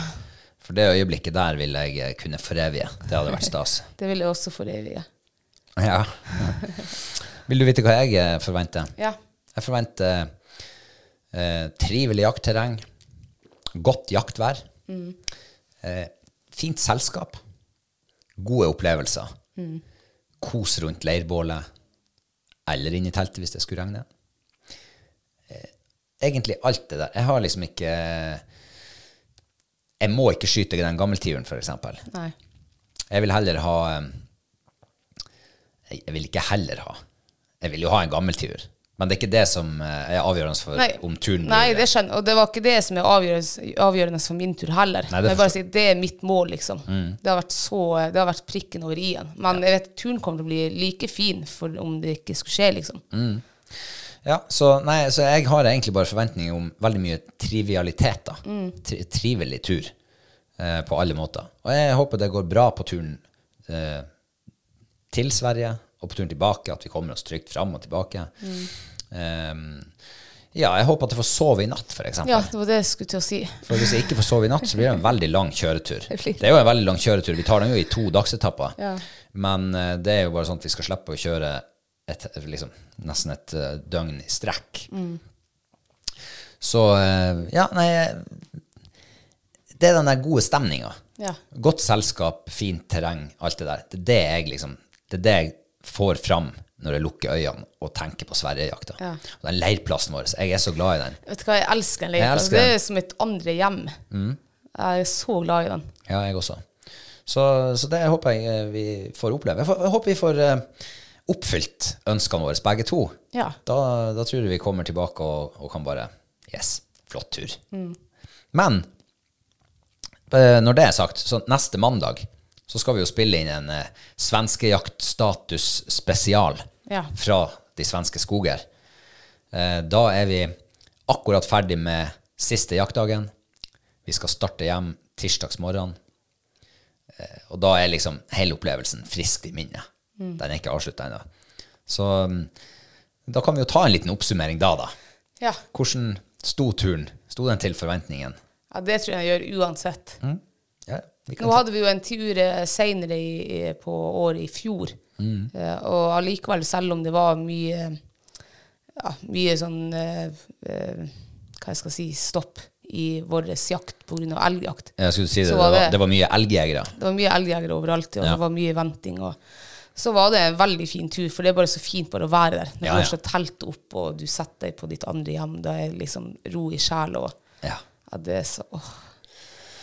[SPEAKER 1] For det øyeblikket der vil jeg eh, kunne forevige. Det hadde vært stas.
[SPEAKER 2] Det vil jeg også for evig.
[SPEAKER 1] Ja. Vil du vite hva jeg eh, forventer?
[SPEAKER 2] Ja.
[SPEAKER 1] Jeg forventer eh, trivelig jaktterreng, godt jaktvær, eh, fint selskap, gode opplevelser, kos rundt leirbålet, eller inne i teltet hvis det skulle regne. Eh, egentlig alt det der. Jeg har liksom ikke Jeg må ikke skyte den gammeltiuren, for eksempel.
[SPEAKER 2] Nei.
[SPEAKER 1] Jeg vil heller ha eh, Jeg vil ikke heller ha. Jeg vil jo ha en gammel tur. Men det er ikke det som eh, er avgjørende for om turen blir
[SPEAKER 2] Nei, det skjønner Og det var ikke det som er avgjørende, avgjørende for min tur heller.
[SPEAKER 1] Nei, det
[SPEAKER 2] det, Men jeg bare
[SPEAKER 1] forstår- Mm.
[SPEAKER 2] sier, det er mitt mål, liksom. Det, har vært så, det har vært prikken over i-en. Men jeg vet turen kommer til å bli like fin for om det ikke skulle skje, liksom.
[SPEAKER 1] Mm. Ja, så, nei, så jeg har egentlig bare forventninger om veldig mye trivialitet. da.
[SPEAKER 2] Mm.
[SPEAKER 1] Tri trivelig tur eh, på alle måter. Og jeg håper det går bra på turen eh, til Sverige og på turen tilbake, at vi kommer oss trygt fram og tilbake.
[SPEAKER 2] Mm.
[SPEAKER 1] Eh, ja, jeg håper at jeg får sove i natt, for eksempel.
[SPEAKER 2] Ja, det var det jeg skulle til å si.
[SPEAKER 1] For hvis jeg ikke får sove i natt, så blir det en veldig lang kjøretur. Det er jo en veldig lang kjøretur. Vi tar den jo i to dagsetapper.
[SPEAKER 2] Ja.
[SPEAKER 1] Men eh, det er jo bare sånn at vi skal slippe å kjøre et, liksom, nesten et eh, døgn i strekk.
[SPEAKER 2] Mm.
[SPEAKER 1] Så eh, Ja, nei Det er den der gode stemninga.
[SPEAKER 2] Ja.
[SPEAKER 1] Godt selskap, fint terreng, alt det der. Det er det jeg liksom Det er det jeg får fram når jeg lukker øynene og tenker på Sverigejakta.
[SPEAKER 2] Ja.
[SPEAKER 1] Og Den leirplassen vår, jeg er så glad i den.
[SPEAKER 2] Vet du hva, jeg elsker den
[SPEAKER 1] Jeg elsker
[SPEAKER 2] leirplassen. Det
[SPEAKER 1] den. Mm.
[SPEAKER 2] er som mitt andre hjem. Jeg er så glad i den.
[SPEAKER 1] Ja, jeg også. Så, så det håper jeg eh, vi får oppleve. Jeg, får, jeg håper vi får eh, oppfylt ønskene våre, begge to.
[SPEAKER 2] Ja.
[SPEAKER 1] Da, da tror jeg vi kommer tilbake og, og kan bare Yes, flott tur. Men eh, når det er sagt, så neste mandag så skal vi jo spille inn en eh, svenskejaktstatus-spesial
[SPEAKER 2] Ja.
[SPEAKER 1] fra de svenske skoger. Eh, da er vi akkurat ferdig med siste jaktdagen. Vi skal starte hjem tirsdagsmorgen. Og da er liksom hele opplevelsen frisk i minnet. Den er ikke avslutta ennå. Så um, da kan vi jo ta en liten oppsummering da, da.
[SPEAKER 2] Ja.
[SPEAKER 1] Hvordan sto turen? Sto den til forventningen?
[SPEAKER 2] ja, det tror jeg jeg gjør uansett.
[SPEAKER 1] Mm. Ja, vi kan
[SPEAKER 2] Nå
[SPEAKER 1] ta-
[SPEAKER 2] hadde vi jo en tur eh, senere i, i- på året i fjor,
[SPEAKER 1] Mm.
[SPEAKER 2] Eh, og allikevel, selv om det var mye ja, mye sånn eh, eh, Hva jeg skal si stopp i vår jakt pga. elgjakt.
[SPEAKER 1] jeg skulle si det,
[SPEAKER 2] så
[SPEAKER 1] det,
[SPEAKER 2] var
[SPEAKER 1] var,
[SPEAKER 2] det-
[SPEAKER 1] det var mye elgjegere.
[SPEAKER 2] Det var mye elgjegere overalt, og
[SPEAKER 1] Ja.
[SPEAKER 2] det var mye venting. Og så var det en veldig fin tur, for det er bare så fint bare å være der.
[SPEAKER 1] Ja,
[SPEAKER 2] Når du
[SPEAKER 1] ja.
[SPEAKER 2] har slått teltet opp, og du setter deg på ditt andre hjem, da er det liksom ro i sjela. Og
[SPEAKER 1] Ja.
[SPEAKER 2] ja, det er så åh.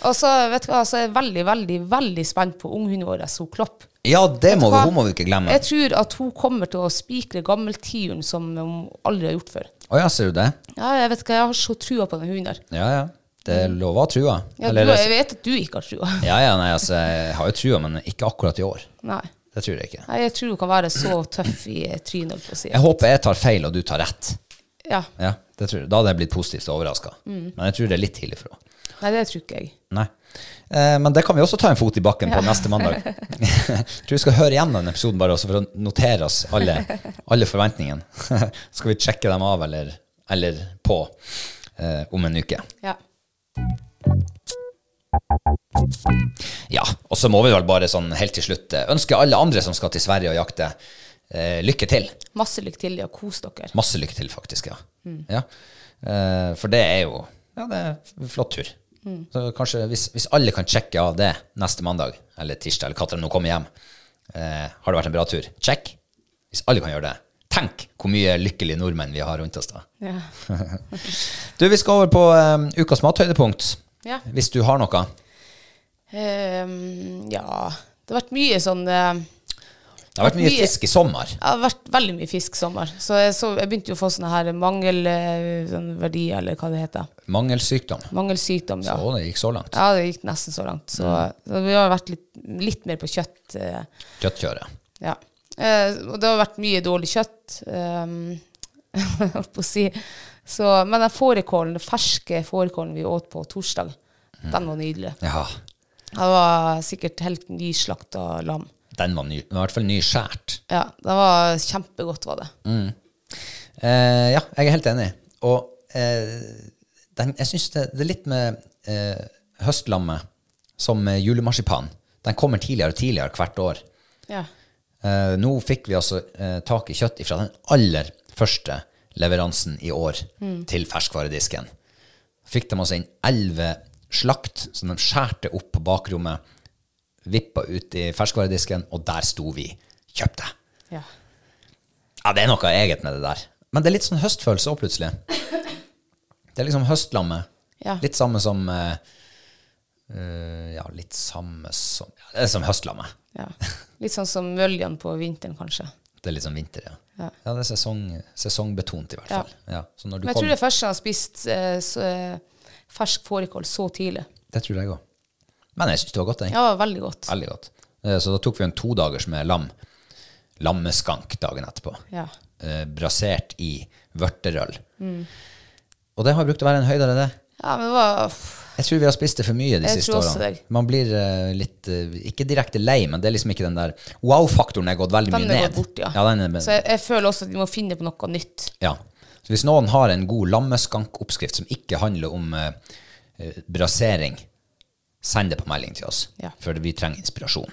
[SPEAKER 2] Og så vet du hva, så er jeg veldig, veldig veldig spent på unghunden vår, så Klopp.
[SPEAKER 1] ja, det
[SPEAKER 2] Vet du
[SPEAKER 1] må vi,
[SPEAKER 2] hva?
[SPEAKER 1] hun må vi ikke glemme.
[SPEAKER 2] Jeg tror at hun kommer til å spikre gammeltiuren som hun aldri har gjort før.
[SPEAKER 1] Å ja, ser du det?
[SPEAKER 2] Ja, jeg vet hva, jeg har så trua på den hunden her.
[SPEAKER 1] Ja, ja. Det er lova trua.
[SPEAKER 2] Mm. Ja, du,
[SPEAKER 1] Eller-
[SPEAKER 2] jeg vet at du ikke har trua.
[SPEAKER 1] ja, ja, nei, altså, jeg har jo trua, men ikke akkurat i år.
[SPEAKER 2] Nei.
[SPEAKER 1] Det tror jeg ikke.
[SPEAKER 2] Nei, jeg tror hun kan være så tøff i trynet, holdt på å si.
[SPEAKER 1] Jeg håper jeg tar feil, og du tar rett.
[SPEAKER 2] Ja.
[SPEAKER 1] Ja, det tror jeg. Da hadde jeg blitt positivt overraska.
[SPEAKER 2] Mm.
[SPEAKER 1] Men jeg tror det er litt tidlig for henne.
[SPEAKER 2] Nei, det tror ikke jeg.
[SPEAKER 1] Nei. Eh, men det kan vi også ta en fot i bakken på neste mandag. jeg tror vi skal høre igjen den episoden bare også for å notere oss alle, alle forventningene. skal vi sjekke dem av eller, eller på eh, om en uke.
[SPEAKER 2] Ja.
[SPEAKER 1] Ja, og så må vi vel bare sånn helt til slutt eh, ønske alle andre som skal til Sverige og jakte, eh, lykke til.
[SPEAKER 2] Masse lykke til i å kose dere. Mm.
[SPEAKER 1] Masse lykke til, faktisk. ja. ja. Eh, for det er jo ja, det er en flott tur.
[SPEAKER 2] Mm.
[SPEAKER 1] Så kanskje hvis, hvis alle kan sjekke av det neste mandag eller tirsdag, eller når de nå kommer hjem, eh, har det vært en bra tur? Check. Hvis alle kan gjøre det. Tenk hvor mye lykkelige nordmenn vi har rundt oss da.
[SPEAKER 2] Ja.
[SPEAKER 1] Du, vi skal over på eh, ukas mathøydepunkt.
[SPEAKER 2] Ja.
[SPEAKER 1] Hvis du har noe.
[SPEAKER 2] Ehm, ja. Det har vært mye sånn eh,
[SPEAKER 1] Det har vært mye
[SPEAKER 2] Mye.
[SPEAKER 1] fisk i sommer.
[SPEAKER 2] Det har vært veldig mye fisk sommer. Så jeg, så jeg begynte jo å få sånne her mangelverdier, eller hva det heter.
[SPEAKER 1] Mangelsykdom.
[SPEAKER 2] Mangelsykdom, ja.
[SPEAKER 1] Å, det gikk så langt. Mm.
[SPEAKER 2] Ja, det gikk nesten så langt. Så, så vi har vært litt, litt mer på kjøtt. eh,
[SPEAKER 1] Kjøttkjøret.
[SPEAKER 2] Ja. Eh, og det har vært mye dårlig kjøtt, ehm, holdt på å si. Så, men den fårikålen, den ferske fårikålen vi åt på torsdag, den var nydelig.
[SPEAKER 1] Ja,
[SPEAKER 2] Det var sikkert helt nyslakta lam.
[SPEAKER 1] den var ny, den var i hvert fall nyskjært.
[SPEAKER 2] Ja, det var kjempegodt, var det.
[SPEAKER 1] Eh, ja, jeg er helt enig. Og eh, den, jeg syns det, det er litt med eh, høstlammet som med julemarsipan. Den kommer tidligere og tidligere hvert år.
[SPEAKER 2] Ja.
[SPEAKER 1] Eh, nå fikk vi altså eh, tak i kjøtt fra den aller første leveransen i år til ferskvaredisken. Fikk de altså inn elleve slakt som de skjærte opp på bakrommet, vippa ut i ferskvaredisken, og der sto vi. Kjøpte.
[SPEAKER 2] ja.
[SPEAKER 1] Ja, det er noe eget med det der. Men det er litt sånn høstfølelse òg, plutselig. Det er liksom høstlamme.
[SPEAKER 2] Ja.
[SPEAKER 1] Litt samme som eh, eh, Ja, litt samme som ja, Det er som høstlamme.
[SPEAKER 2] Ja. Litt sånn som møljan på vinteren, kanskje.
[SPEAKER 1] Det er litt sånn vinter, ja.
[SPEAKER 2] Ja.
[SPEAKER 1] det er sesong, sesongbetont, i hvert
[SPEAKER 2] Ja.
[SPEAKER 1] fall. Ja. Så når du
[SPEAKER 2] Men jeg
[SPEAKER 1] kommer-
[SPEAKER 2] tror det er første gang jeg har spist eh, så, eh, fersk fårikål så tidlig.
[SPEAKER 1] det tror jeg òg. Men jeg syns det var godt, jeg.
[SPEAKER 2] Ja, veldig godt.
[SPEAKER 1] Veldig godt. Eh, Så da tok vi en todagers med lam. Lammeskank dagen etterpå.
[SPEAKER 2] Ja.
[SPEAKER 1] Eh, brasert i vørterøl.
[SPEAKER 2] Mm.
[SPEAKER 1] Og det har brukt å være en høydere, det.
[SPEAKER 2] ja, men det var
[SPEAKER 1] Jeg tror vi har spist det for mye de
[SPEAKER 2] Jeg
[SPEAKER 1] siste
[SPEAKER 2] tror også
[SPEAKER 1] årene.
[SPEAKER 2] det.
[SPEAKER 1] Man blir eh, litt eh, Ikke direkte lei, men det er liksom ikke den der wow-faktoren er gått veldig mye
[SPEAKER 2] Den er
[SPEAKER 1] ned.
[SPEAKER 2] gått bort, ja.
[SPEAKER 1] ja, den er,
[SPEAKER 2] Så jeg, jeg føler også at vi må finne på noe nytt.
[SPEAKER 1] ja. Så hvis noen har en god lammeskankoppskrift som ikke handler om eh, eh, brasering, send det på melding til oss,
[SPEAKER 2] Ja.
[SPEAKER 1] for vi trenger inspirasjon.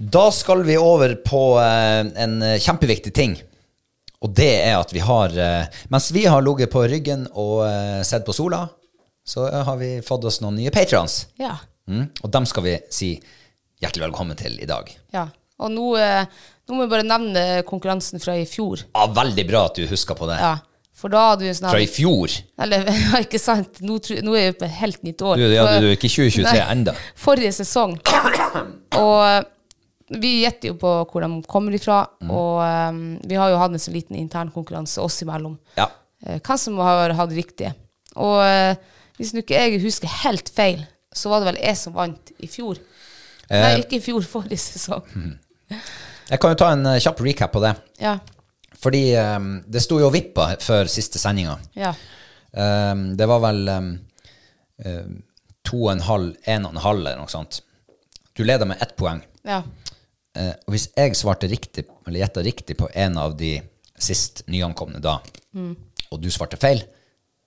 [SPEAKER 1] Da skal vi over på eh, en eh, kjempeviktig ting. Og det er at vi har eh, Mens vi har ligget på ryggen og eh, sett på sola, så eh, har vi fått oss noen nye patrons.
[SPEAKER 2] Ja.
[SPEAKER 1] Mm, og dem skal vi si hjertelig velkommen til i dag.
[SPEAKER 2] ja. Og nå, eh, nå må jeg bare nevne konkurransen fra i fjor.
[SPEAKER 1] Ja, veldig bra at du husker på det.
[SPEAKER 2] Ja. For da hadde vi en sånn her-
[SPEAKER 1] Fra i fjor.
[SPEAKER 2] Eller, ja, ikke sant? Nå, tru- nå er vi på et helt nytt år.
[SPEAKER 1] Du, ja,
[SPEAKER 2] For-
[SPEAKER 1] du, du er ikke 2023
[SPEAKER 2] Nei.
[SPEAKER 1] enda.
[SPEAKER 2] Forrige sesong. Og eh, vi gjetter jo på hvor de kommer ifra,
[SPEAKER 1] Mm.
[SPEAKER 2] og um, vi har jo hatt en sånn liten intern konkurranse oss imellom.
[SPEAKER 1] Ja.
[SPEAKER 2] Eh, Hvem som har hatt riktige. Og eh, hvis nå ikke jeg husker helt feil, så var det vel jeg som vant i fjor. Nei, ikke i fjor, forrige sesong.
[SPEAKER 1] Jeg kan jo ta en eh, kjapp recap på det.
[SPEAKER 2] Ja,
[SPEAKER 1] Fordi eh, det sto jo og vippa før siste sendinga.
[SPEAKER 2] ja,
[SPEAKER 1] Eh, det var vel eh, eh, to og en halv, en og en halv eller noe sånt. Du leder med ett poeng.
[SPEAKER 2] ja.
[SPEAKER 1] Eh, og hvis jeg svarte riktig, eller gjetta riktig på en av de sist nyankomne da, og du svarte feil,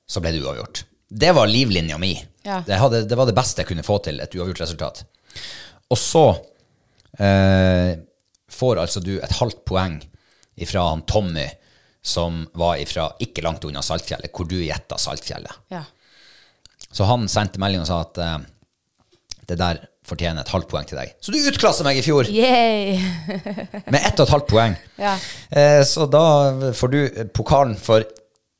[SPEAKER 1] så ble det uavgjort. Det var livlinja mi.
[SPEAKER 2] Ja.
[SPEAKER 1] Det, hadde, det var det beste jeg kunne få til, et uavgjort resultat. Og så eh, får altså du et halvt poeng ifra han Tommy, som var ifra ikke langt unna Saltfjellet, hvor du gjetta Saltfjellet.
[SPEAKER 2] ja.
[SPEAKER 1] Så han sendte melding og sa at eh, det der fortjener et halvt poeng til deg. Så du utklassa meg i fjor!
[SPEAKER 2] Yay!
[SPEAKER 1] Med ett og et halvt poeng.
[SPEAKER 2] Ja.
[SPEAKER 1] Eh, så da får du pokalen for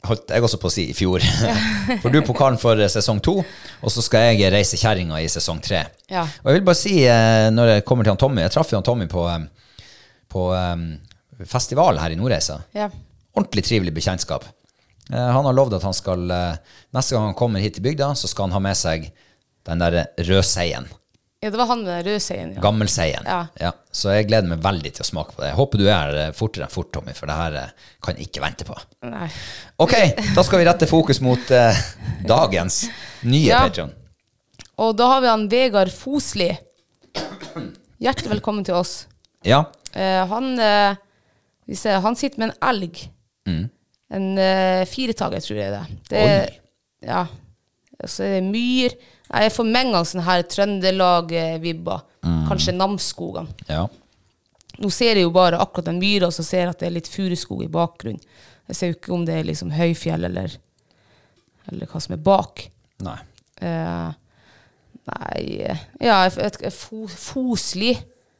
[SPEAKER 1] Holdt jeg også på å si i fjor. får du pokalen for eh, sesong to, og så skal jeg reise kjerringa i sesong tre.
[SPEAKER 2] Ja.
[SPEAKER 1] Og jeg vil bare si, eh, når jeg kommer til han Tommy Jeg traff jo han Tommy på, eh, på eh, festival her i Nordreisa.
[SPEAKER 2] Ja.
[SPEAKER 1] Ordentlig trivelig bekjentskap. Eh, Han har lovd at han skal eh, neste gang han kommer hit til bygda, så skal han ha med seg den derre rødseien.
[SPEAKER 2] ja, det var han med den røde seien. Ja.
[SPEAKER 1] Gammelseien. Ja.
[SPEAKER 2] Ja.
[SPEAKER 1] Så jeg gleder meg veldig til å smake på det. Jeg håper du er eh, fortere enn fort, Tommy, for det her eh, kan jeg ikke vente på.
[SPEAKER 2] Nei.
[SPEAKER 1] Ok, da skal vi rette fokus mot eh, dagens nye
[SPEAKER 2] Ja.
[SPEAKER 1] Patreon.
[SPEAKER 2] Og da har vi han Vegard Fosli. Hjertelig velkommen til oss.
[SPEAKER 1] Ja.
[SPEAKER 2] Eh, han, eh, vi ser, han sitter med en elg. En eh, firetager, tror jeg det er. det er.
[SPEAKER 1] Oi.
[SPEAKER 2] Ja. Og så er det myr. Nei, Jeg får mange ganger sånne her Trøndelag-vibber. Kanskje Namsskogan.
[SPEAKER 1] ja.
[SPEAKER 2] Nå ser jeg jo bare akkurat den myra, og så ser jeg at det er litt furuskog i bakgrunnen. Jeg ser jo ikke om det er liksom høyfjell eller, eller hva som er bak.
[SPEAKER 1] Nei.
[SPEAKER 2] Eh, nei eh, Ja, jeg vet ikke, fo, Fosli.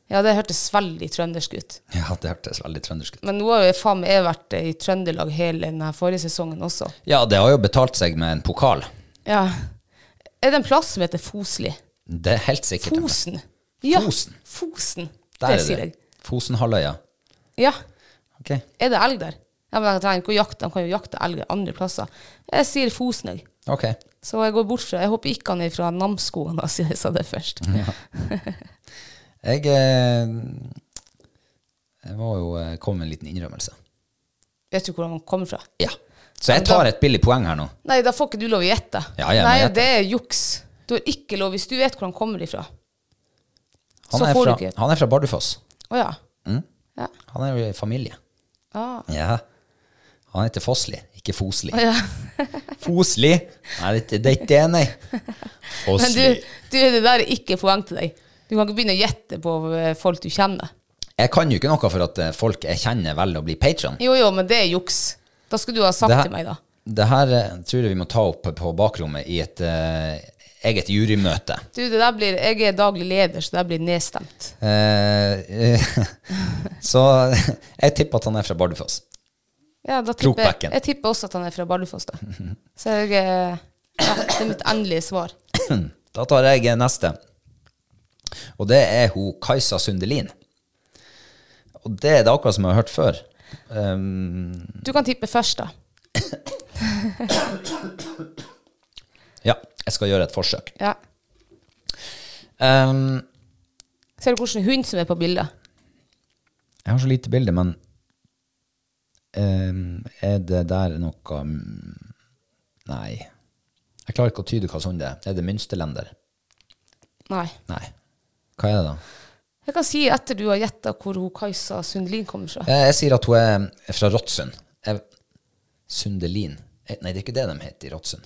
[SPEAKER 2] Ja, det hørtes veldig trøndersk ut.
[SPEAKER 1] Ja, det hørtes veldig trøndersk ut.
[SPEAKER 2] Men nå har jo faen meg jeg vært i Trøndelag hele denne forrige sesongen også.
[SPEAKER 1] Ja, det har jo betalt seg med en pokal.
[SPEAKER 2] Ja. Er det en plass som heter Fosli?
[SPEAKER 1] Det er helt sikkert. en plass.
[SPEAKER 2] Fosen. Ja,
[SPEAKER 1] Fosen.
[SPEAKER 2] Fosen.
[SPEAKER 1] Der
[SPEAKER 2] det
[SPEAKER 1] er
[SPEAKER 2] sier jeg.
[SPEAKER 1] Fosenhalvøya.
[SPEAKER 2] Ja.
[SPEAKER 1] Ok.
[SPEAKER 2] Er det elg der? Ja, men jeg trenger ikke å jakte. De kan jo jakte elg andre plasser. Jeg sier Fosen, jeg.
[SPEAKER 1] Ok.
[SPEAKER 2] Så jeg går bort fra Jeg håper ikke han er fra Namsskogan, da, siden jeg sa det først.
[SPEAKER 1] Jeg, eh, jeg må jo eh, komme med en liten innrømmelse.
[SPEAKER 2] Vet du hvor han kommer fra?
[SPEAKER 1] Ja. Så jeg tar et billig poeng her nå.
[SPEAKER 2] Nei, da får ikke du lov å gjette.
[SPEAKER 1] Ja, jeg må
[SPEAKER 2] Nei,
[SPEAKER 1] gjette.
[SPEAKER 2] det er juks. Du har ikke lov hvis du vet hvor han kommer ifra.
[SPEAKER 1] Han
[SPEAKER 2] Så
[SPEAKER 1] er
[SPEAKER 2] får
[SPEAKER 1] fra, Mm.
[SPEAKER 2] du ikke.
[SPEAKER 1] han er fra Bardufoss.
[SPEAKER 2] Å ja. Ja.
[SPEAKER 1] Han er jo i familie.
[SPEAKER 2] Ah.
[SPEAKER 1] Ja. Han heter Fossli, ikke Fosli.
[SPEAKER 2] ja.
[SPEAKER 1] Fosli! Nei, det det er ikke det, nei.
[SPEAKER 2] Men
[SPEAKER 1] Fossli.
[SPEAKER 2] du, du, det der er ikke poeng til deg. Du kan ikke begynne å gjette på eh, folk du kjenner.
[SPEAKER 1] Jeg kan jo ikke noe for at eh, folk jeg kjenner, velger å bli patron.
[SPEAKER 2] Jo, jo, men det er juks. Da skulle du ha sagt til meg, da.
[SPEAKER 1] det her eh, tror jeg vi må ta opp på bakrommet i et eh, eget jurymøte.
[SPEAKER 2] Du, det der blir, jeg er daglig leder, så det der blir nedstemt.
[SPEAKER 1] Eh, så jeg tipper at han er fra Bardufoss.
[SPEAKER 2] Ja, da tipper jeg,
[SPEAKER 1] Krokbekken.
[SPEAKER 2] jeg tipper også at han er fra Bardufoss, da. Så jeg, eh, ja, det er mitt endelige svar.
[SPEAKER 1] Da tar jeg eh, neste. Og det er hun Kajsa Sundelin. Og det er det akkurat som jeg har hørt før. Um,
[SPEAKER 2] Du kan tippe først, da.
[SPEAKER 1] ja, jeg skal gjøre et forsøk.
[SPEAKER 2] Ja.
[SPEAKER 1] Um,
[SPEAKER 2] Ser du hvilken hund som er på bildet?
[SPEAKER 1] jeg har så lite bilde, men um, er det der noe mm, Nei. Jeg klarer ikke å tyde hva sånn det er. Er det mynsterlender?
[SPEAKER 2] Nei.
[SPEAKER 1] Nei. Hva er det, da?
[SPEAKER 2] Jeg kan si etter du har gjetta hvor hun Kajsa Sundlin kommer fra.
[SPEAKER 1] Eh, Jeg, jeg sier at hun er fra Råttsund. Jeg- Sundelin. Eh, Nei, det er ikke det de heter i Råttsund.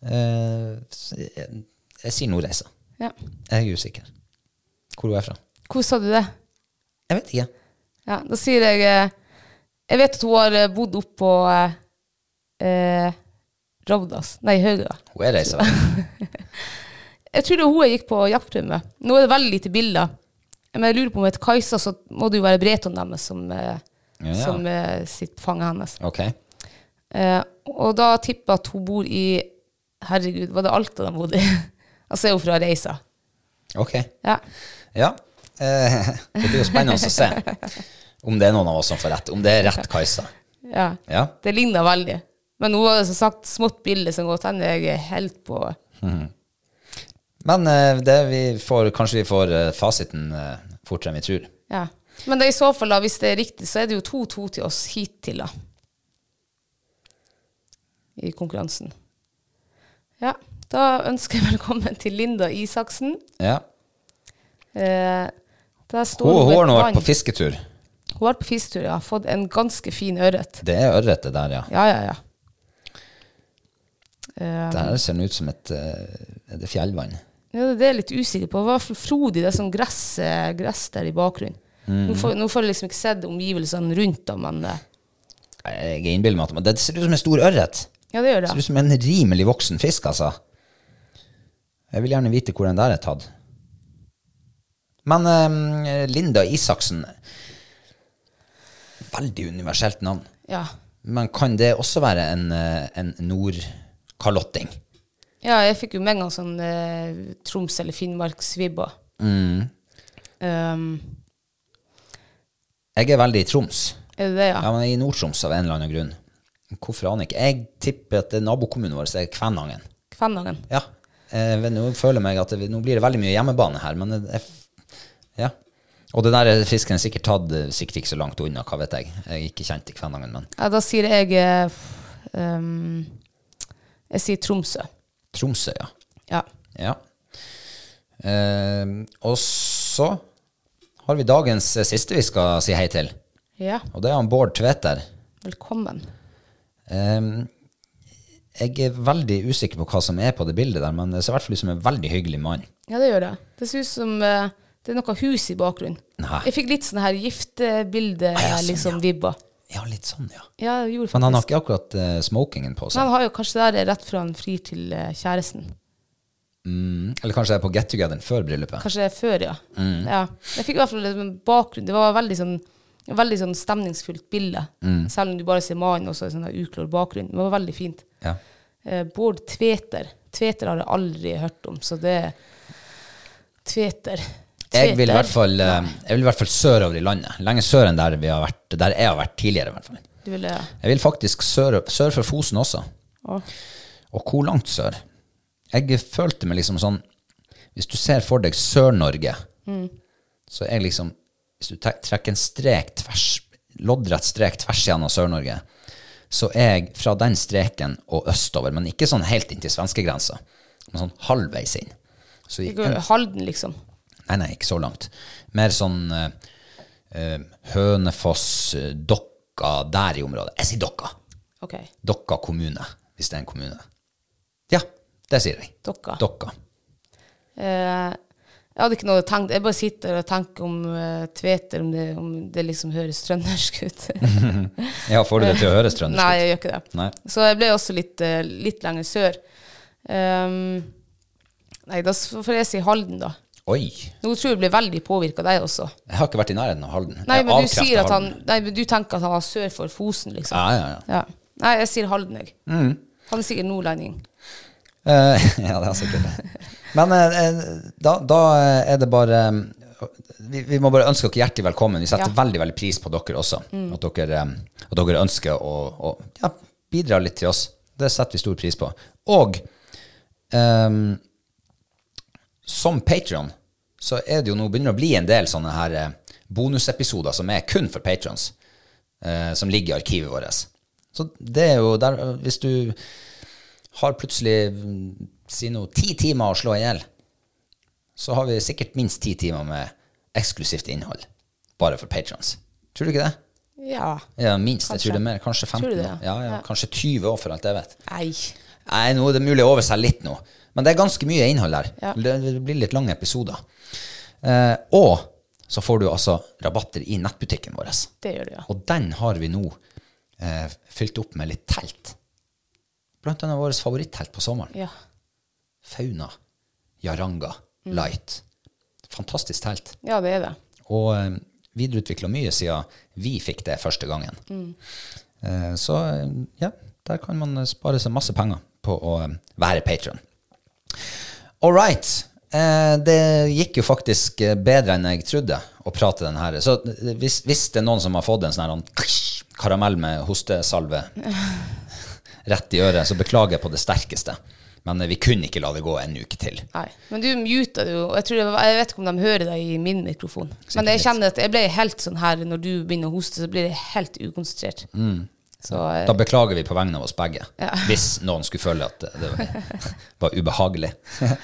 [SPEAKER 1] Eh, s- jeg, jeg sier Nordreisa.
[SPEAKER 2] Ja.
[SPEAKER 1] Jeg er usikker. Hvor hun er fra.
[SPEAKER 2] Hvor sa du det?
[SPEAKER 1] Jeg vet ikke.
[SPEAKER 2] Ja, da sier jeg eh, Jeg vet at hun har eh, bodd oppe på eh, eh, Rovdas Nei, Hauga.
[SPEAKER 1] Hun er reisa. vel?
[SPEAKER 2] Jeg tror det var hun jeg gikk på jakttur med. Nå er det veldig lite bilder. Men jeg lurer på om hun heter Kajsa, så må det jo være Breton deres som, eh,
[SPEAKER 1] Ja, ja.
[SPEAKER 2] som eh, sitter på fanget hennes.
[SPEAKER 1] Ok.
[SPEAKER 2] Eh, og da tipper jeg at hun bor i Herregud, var det Alta de bodde i? altså er hun fra Reisa.
[SPEAKER 1] Ok.
[SPEAKER 2] Ja.
[SPEAKER 1] Ja. Eh, det blir jo spennende å se om det er noen av oss som får rett. Om det er rett Kajsa.
[SPEAKER 2] ja.
[SPEAKER 1] Ja.
[SPEAKER 2] Det ligner veldig. Men hun var som sagt smått billig, så godt hende jeg er helt på
[SPEAKER 1] Men eh, det vi får, kanskje vi får eh, fasiten eh, fortere enn vi tror.
[SPEAKER 2] Ja. Men det er i så fall, da, hvis det er riktig, så er det jo 2-2 til oss hittil, da. I konkurransen. Ja. Da ønsker jeg velkommen til Linda Isaksen.
[SPEAKER 1] Ja.
[SPEAKER 2] Eh, der står
[SPEAKER 1] Hun hun
[SPEAKER 2] ved
[SPEAKER 1] har nå
[SPEAKER 2] et
[SPEAKER 1] vært
[SPEAKER 2] vann.
[SPEAKER 1] på fisketur.
[SPEAKER 2] Hun har vært på fisketur, ja. Fått en ganske fin ørret.
[SPEAKER 1] Det er ørret, det der, ja.
[SPEAKER 2] Ja, ja, Eh, ja. Eh,
[SPEAKER 1] Det her ser nå ut som et eh, er det fjellvann.
[SPEAKER 2] Ja, det er jeg litt usikker på. Det var for frodig, det er sånn gress, eh, gress der i bakgrunnen.
[SPEAKER 1] Mm.
[SPEAKER 2] Nå, får, nå får jeg liksom ikke sett omgivelsene rundt, da, men eh,
[SPEAKER 1] Jeg innbiller meg at men det ser ut som en stor ørret.
[SPEAKER 2] ja, det
[SPEAKER 1] Det
[SPEAKER 2] gjør det.
[SPEAKER 1] ser ut som en rimelig voksen fisk, altså. Jeg vil gjerne vite hvor den der er tatt. Men eh, Linda Isaksen Veldig universelt navn.
[SPEAKER 2] Ja.
[SPEAKER 1] Men kan det også være en, eh, en nordkalotting?
[SPEAKER 2] ja, jeg fikk jo med en gang sånn eh, Troms- eller Finnmarksvibber.
[SPEAKER 1] Mm.
[SPEAKER 2] Um,
[SPEAKER 1] Jeg er veldig i Troms.
[SPEAKER 2] er det det, ja?
[SPEAKER 1] Ja, men i Nord-Troms av en eller annen grunn. Hvorfor aner jeg ikke. Jeg tipper at det er nabokommunen vår er Kvænangen.
[SPEAKER 2] Kvænangen.
[SPEAKER 1] Ja. Eh, vet- nå føler jeg meg at det, nå blir det veldig mye hjemmebane her, men jeg, jeg, ja. Og den der fisken er sikkert tatt eh, sikkert ikke så langt unna, hva vet jeg. Jeg er ikke kjent i Kvænangen, men
[SPEAKER 2] Ja, da sier jeg eh, f- um, Jeg sier Tromsø.
[SPEAKER 1] Tromsø, ja.
[SPEAKER 2] Ja.
[SPEAKER 1] ja. Eh, og så har vi dagens eh, siste vi skal si hei til,
[SPEAKER 2] ja.
[SPEAKER 1] og det er han Bård Tveter.
[SPEAKER 2] Velkommen.
[SPEAKER 1] Eh, jeg er veldig usikker på hva som er på det bildet der, men det ser i hvert fall ut som en veldig hyggelig mann.
[SPEAKER 2] Ja, det gjør det. Det ser ut som eh, det er noe hus i bakgrunnen.
[SPEAKER 1] Nei.
[SPEAKER 2] Jeg fikk litt sånn her giftebilde,
[SPEAKER 1] ja, sånn,
[SPEAKER 2] liksom, vibber.
[SPEAKER 1] Ja, litt sånn, ja.
[SPEAKER 2] Ja, jeg gjorde
[SPEAKER 1] Men han har
[SPEAKER 2] faktisk-
[SPEAKER 1] ikke akkurat eh, smokingen på
[SPEAKER 2] Men
[SPEAKER 1] seg.
[SPEAKER 2] han har jo kanskje det der rett fra han frir til eh, kjæresten.
[SPEAKER 1] Mm, eller kanskje det er på get togetheren før bryllupet.
[SPEAKER 2] Kanskje før, ja.
[SPEAKER 1] Mm.
[SPEAKER 2] ja. Jeg fikk i hvert fall liksom en bakgrunn. Det var veldig sånn, et veldig sånn stemningsfullt bilde.
[SPEAKER 1] Mm.
[SPEAKER 2] Selv om du bare ser mannen og så er det sånn der uklår bakgrunn. Det var veldig fint.
[SPEAKER 1] Ja.
[SPEAKER 2] Eh, Bård Tveter. Tveter har jeg aldri hørt om, så det Tveter.
[SPEAKER 1] Jeg vil, i
[SPEAKER 2] Tveter.
[SPEAKER 1] hvert fall, eh, jeg vil i hvert fall sørover i landet. Lenger sør enn der, vi har vært, der jeg har vært tidligere. i hvert fall.
[SPEAKER 2] Du ville
[SPEAKER 1] Jeg vil faktisk sør, sør for Fosen også.
[SPEAKER 2] Å.
[SPEAKER 1] Og hvor langt sør? Jeg følte meg liksom sånn Hvis du ser for deg Sør-Norge, så er liksom Hvis du te- trekker en strek tvers, loddrett strek tvers gjennom Sør-Norge, så er jeg fra den streken og østover, men ikke sånn helt inn til svenskegrensa, men sånn halvveis inn. Så i
[SPEAKER 2] Ikke Halden, liksom.
[SPEAKER 1] Nei, nei, ikke så langt. Mer sånn eh, eh, Hønefoss, eh, Dokka, der i området. Jeg sier Dokka.
[SPEAKER 2] OK.
[SPEAKER 1] Dokka kommune, hvis det er en kommune. Ja, det sier jeg.
[SPEAKER 2] Dokka.
[SPEAKER 1] Dokka.
[SPEAKER 2] Eh, jeg hadde ikke noe tenkt. Jeg bare sitter og tenker om eh, Tveter, om det, om det liksom høres trøndersk ut.
[SPEAKER 1] Ja, får du det til å høres trøndersk
[SPEAKER 2] Nei,
[SPEAKER 1] ut?
[SPEAKER 2] jeg gjør ikke det.
[SPEAKER 1] Nei.
[SPEAKER 2] Så jeg ble også litt, eh, litt lenger sør. Ehm, nei, da s- får jeg si Halden, da.
[SPEAKER 1] Oi,
[SPEAKER 2] Nå tror jeg du ble veldig påvirka av deg også.
[SPEAKER 1] jeg har ikke vært i nærheten av Halden.
[SPEAKER 2] Nei,
[SPEAKER 1] Jeg
[SPEAKER 2] men du,
[SPEAKER 1] avkrefter
[SPEAKER 2] sier at
[SPEAKER 1] Halden.
[SPEAKER 2] han, nei, men du tenker at han var sør for Fosen, liksom.
[SPEAKER 1] Ja, ja, Mm. ja.
[SPEAKER 2] Ja. Nei, jeg sier Halden, jeg. Han er sikkert nordlending.
[SPEAKER 1] Eh, ja, det er sikkert det. Men eh, eh, da, da eh, er det bare eh, vi, vi må bare ønske dere hjertelig velkommen. Vi setter
[SPEAKER 2] Ja.
[SPEAKER 1] veldig veldig pris på dere også. At, dere, eh, at dere ønsker å, å ja, bidra litt til oss. Det setter vi stor pris på. Og eh, som Patrion så er det jo nå begynner det å bli en del sånne her eh, bonusepisoder som er kun for patrons, eh, som ligger i arkivet vårt. Så det er jo der eh, Hvis du har plutselig mm, si noe, ti timer å slå i hjel, så har vi sikkert minst ti timer med eksklusivt innhold bare for patrons. Tror du ikke det?
[SPEAKER 2] Ja.
[SPEAKER 1] Ja, minst. Jeg
[SPEAKER 2] Kanskje.
[SPEAKER 1] tror det er mer. Kanskje 15.
[SPEAKER 2] Tror du det,
[SPEAKER 1] nå.
[SPEAKER 2] ja?
[SPEAKER 1] Ja, ja,
[SPEAKER 2] Ja.
[SPEAKER 1] Kanskje 20 år, for alt jeg vet.
[SPEAKER 2] Nei.
[SPEAKER 1] Nei, nå er det mulig å over seg litt nå. Men det er ganske mye innhold der.
[SPEAKER 2] Ja.
[SPEAKER 1] Det det blir litt lange episoder. Eh, og så får du altså rabatter i nettbutikken vår.
[SPEAKER 2] Det gjør du, ja.
[SPEAKER 1] Og den har vi nå eh, fylt opp med litt telt. Blant annet vårt favorittelt på sommeren.
[SPEAKER 2] ja.
[SPEAKER 1] Fauna Jaranga Light. Fantastisk telt.
[SPEAKER 2] Ja, det er det.
[SPEAKER 1] Og eh, videreutvikla mye siden vi fikk det første gangen. Eh, så eh, ja, der kan man eh, spare seg masse penger på å eh, være patron. All right. Eh, det gikk jo faktisk eh, bedre enn jeg trodde å prate den her. Så eh, hvis, hvis det er noen som har fått en sånn her, sånn karamell med hostesalve rett i øret, så beklager jeg på det sterkeste. Men eh, vi kunne ikke la det gå en uke til.
[SPEAKER 2] Nei. Men du muta det jo. og Jeg, tror det var, jeg vet ikke om de hører deg i min mikrofon. Men jeg
[SPEAKER 1] litt.
[SPEAKER 2] kjenner at jeg ble helt sånn her når du begynner å hoste, så blir jeg helt ukonsentrert. Så eh,
[SPEAKER 1] Mm. Da beklager vi på vegne av oss begge, hvis noen skulle føle at det- det var- var ubehagelig.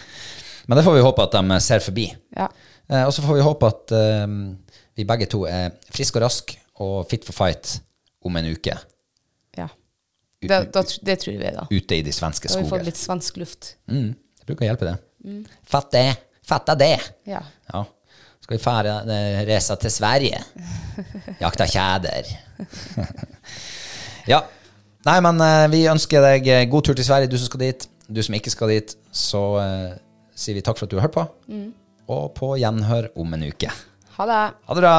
[SPEAKER 1] Men det får vi håpe at de ser forbi.
[SPEAKER 2] ja.
[SPEAKER 1] Eh, Og så får vi håpe at eh, vi begge to er friske og raske og fit for fight om en uke
[SPEAKER 2] ja. Det, da, tr- det tror jeg vi er, da.
[SPEAKER 1] ute i de svenske
[SPEAKER 2] Da har vi
[SPEAKER 1] skoger.
[SPEAKER 2] fått litt Mm. svensk luft.
[SPEAKER 1] Mm, det bruker å hjelpe, det. Fatt det! Fatta det!
[SPEAKER 2] Ja.
[SPEAKER 1] Ja. Skal vi fære, eh, reise til Sverige? Jakta tjæder. ja. Nei, men eh, vi ønsker deg eh, god tur til Sverige, du som skal dit. Du som ikke skal dit, så eh, sier vi takk for at du har hørt på. Og på gjenhør om en uke.
[SPEAKER 2] Ha det.
[SPEAKER 1] Ha det bra!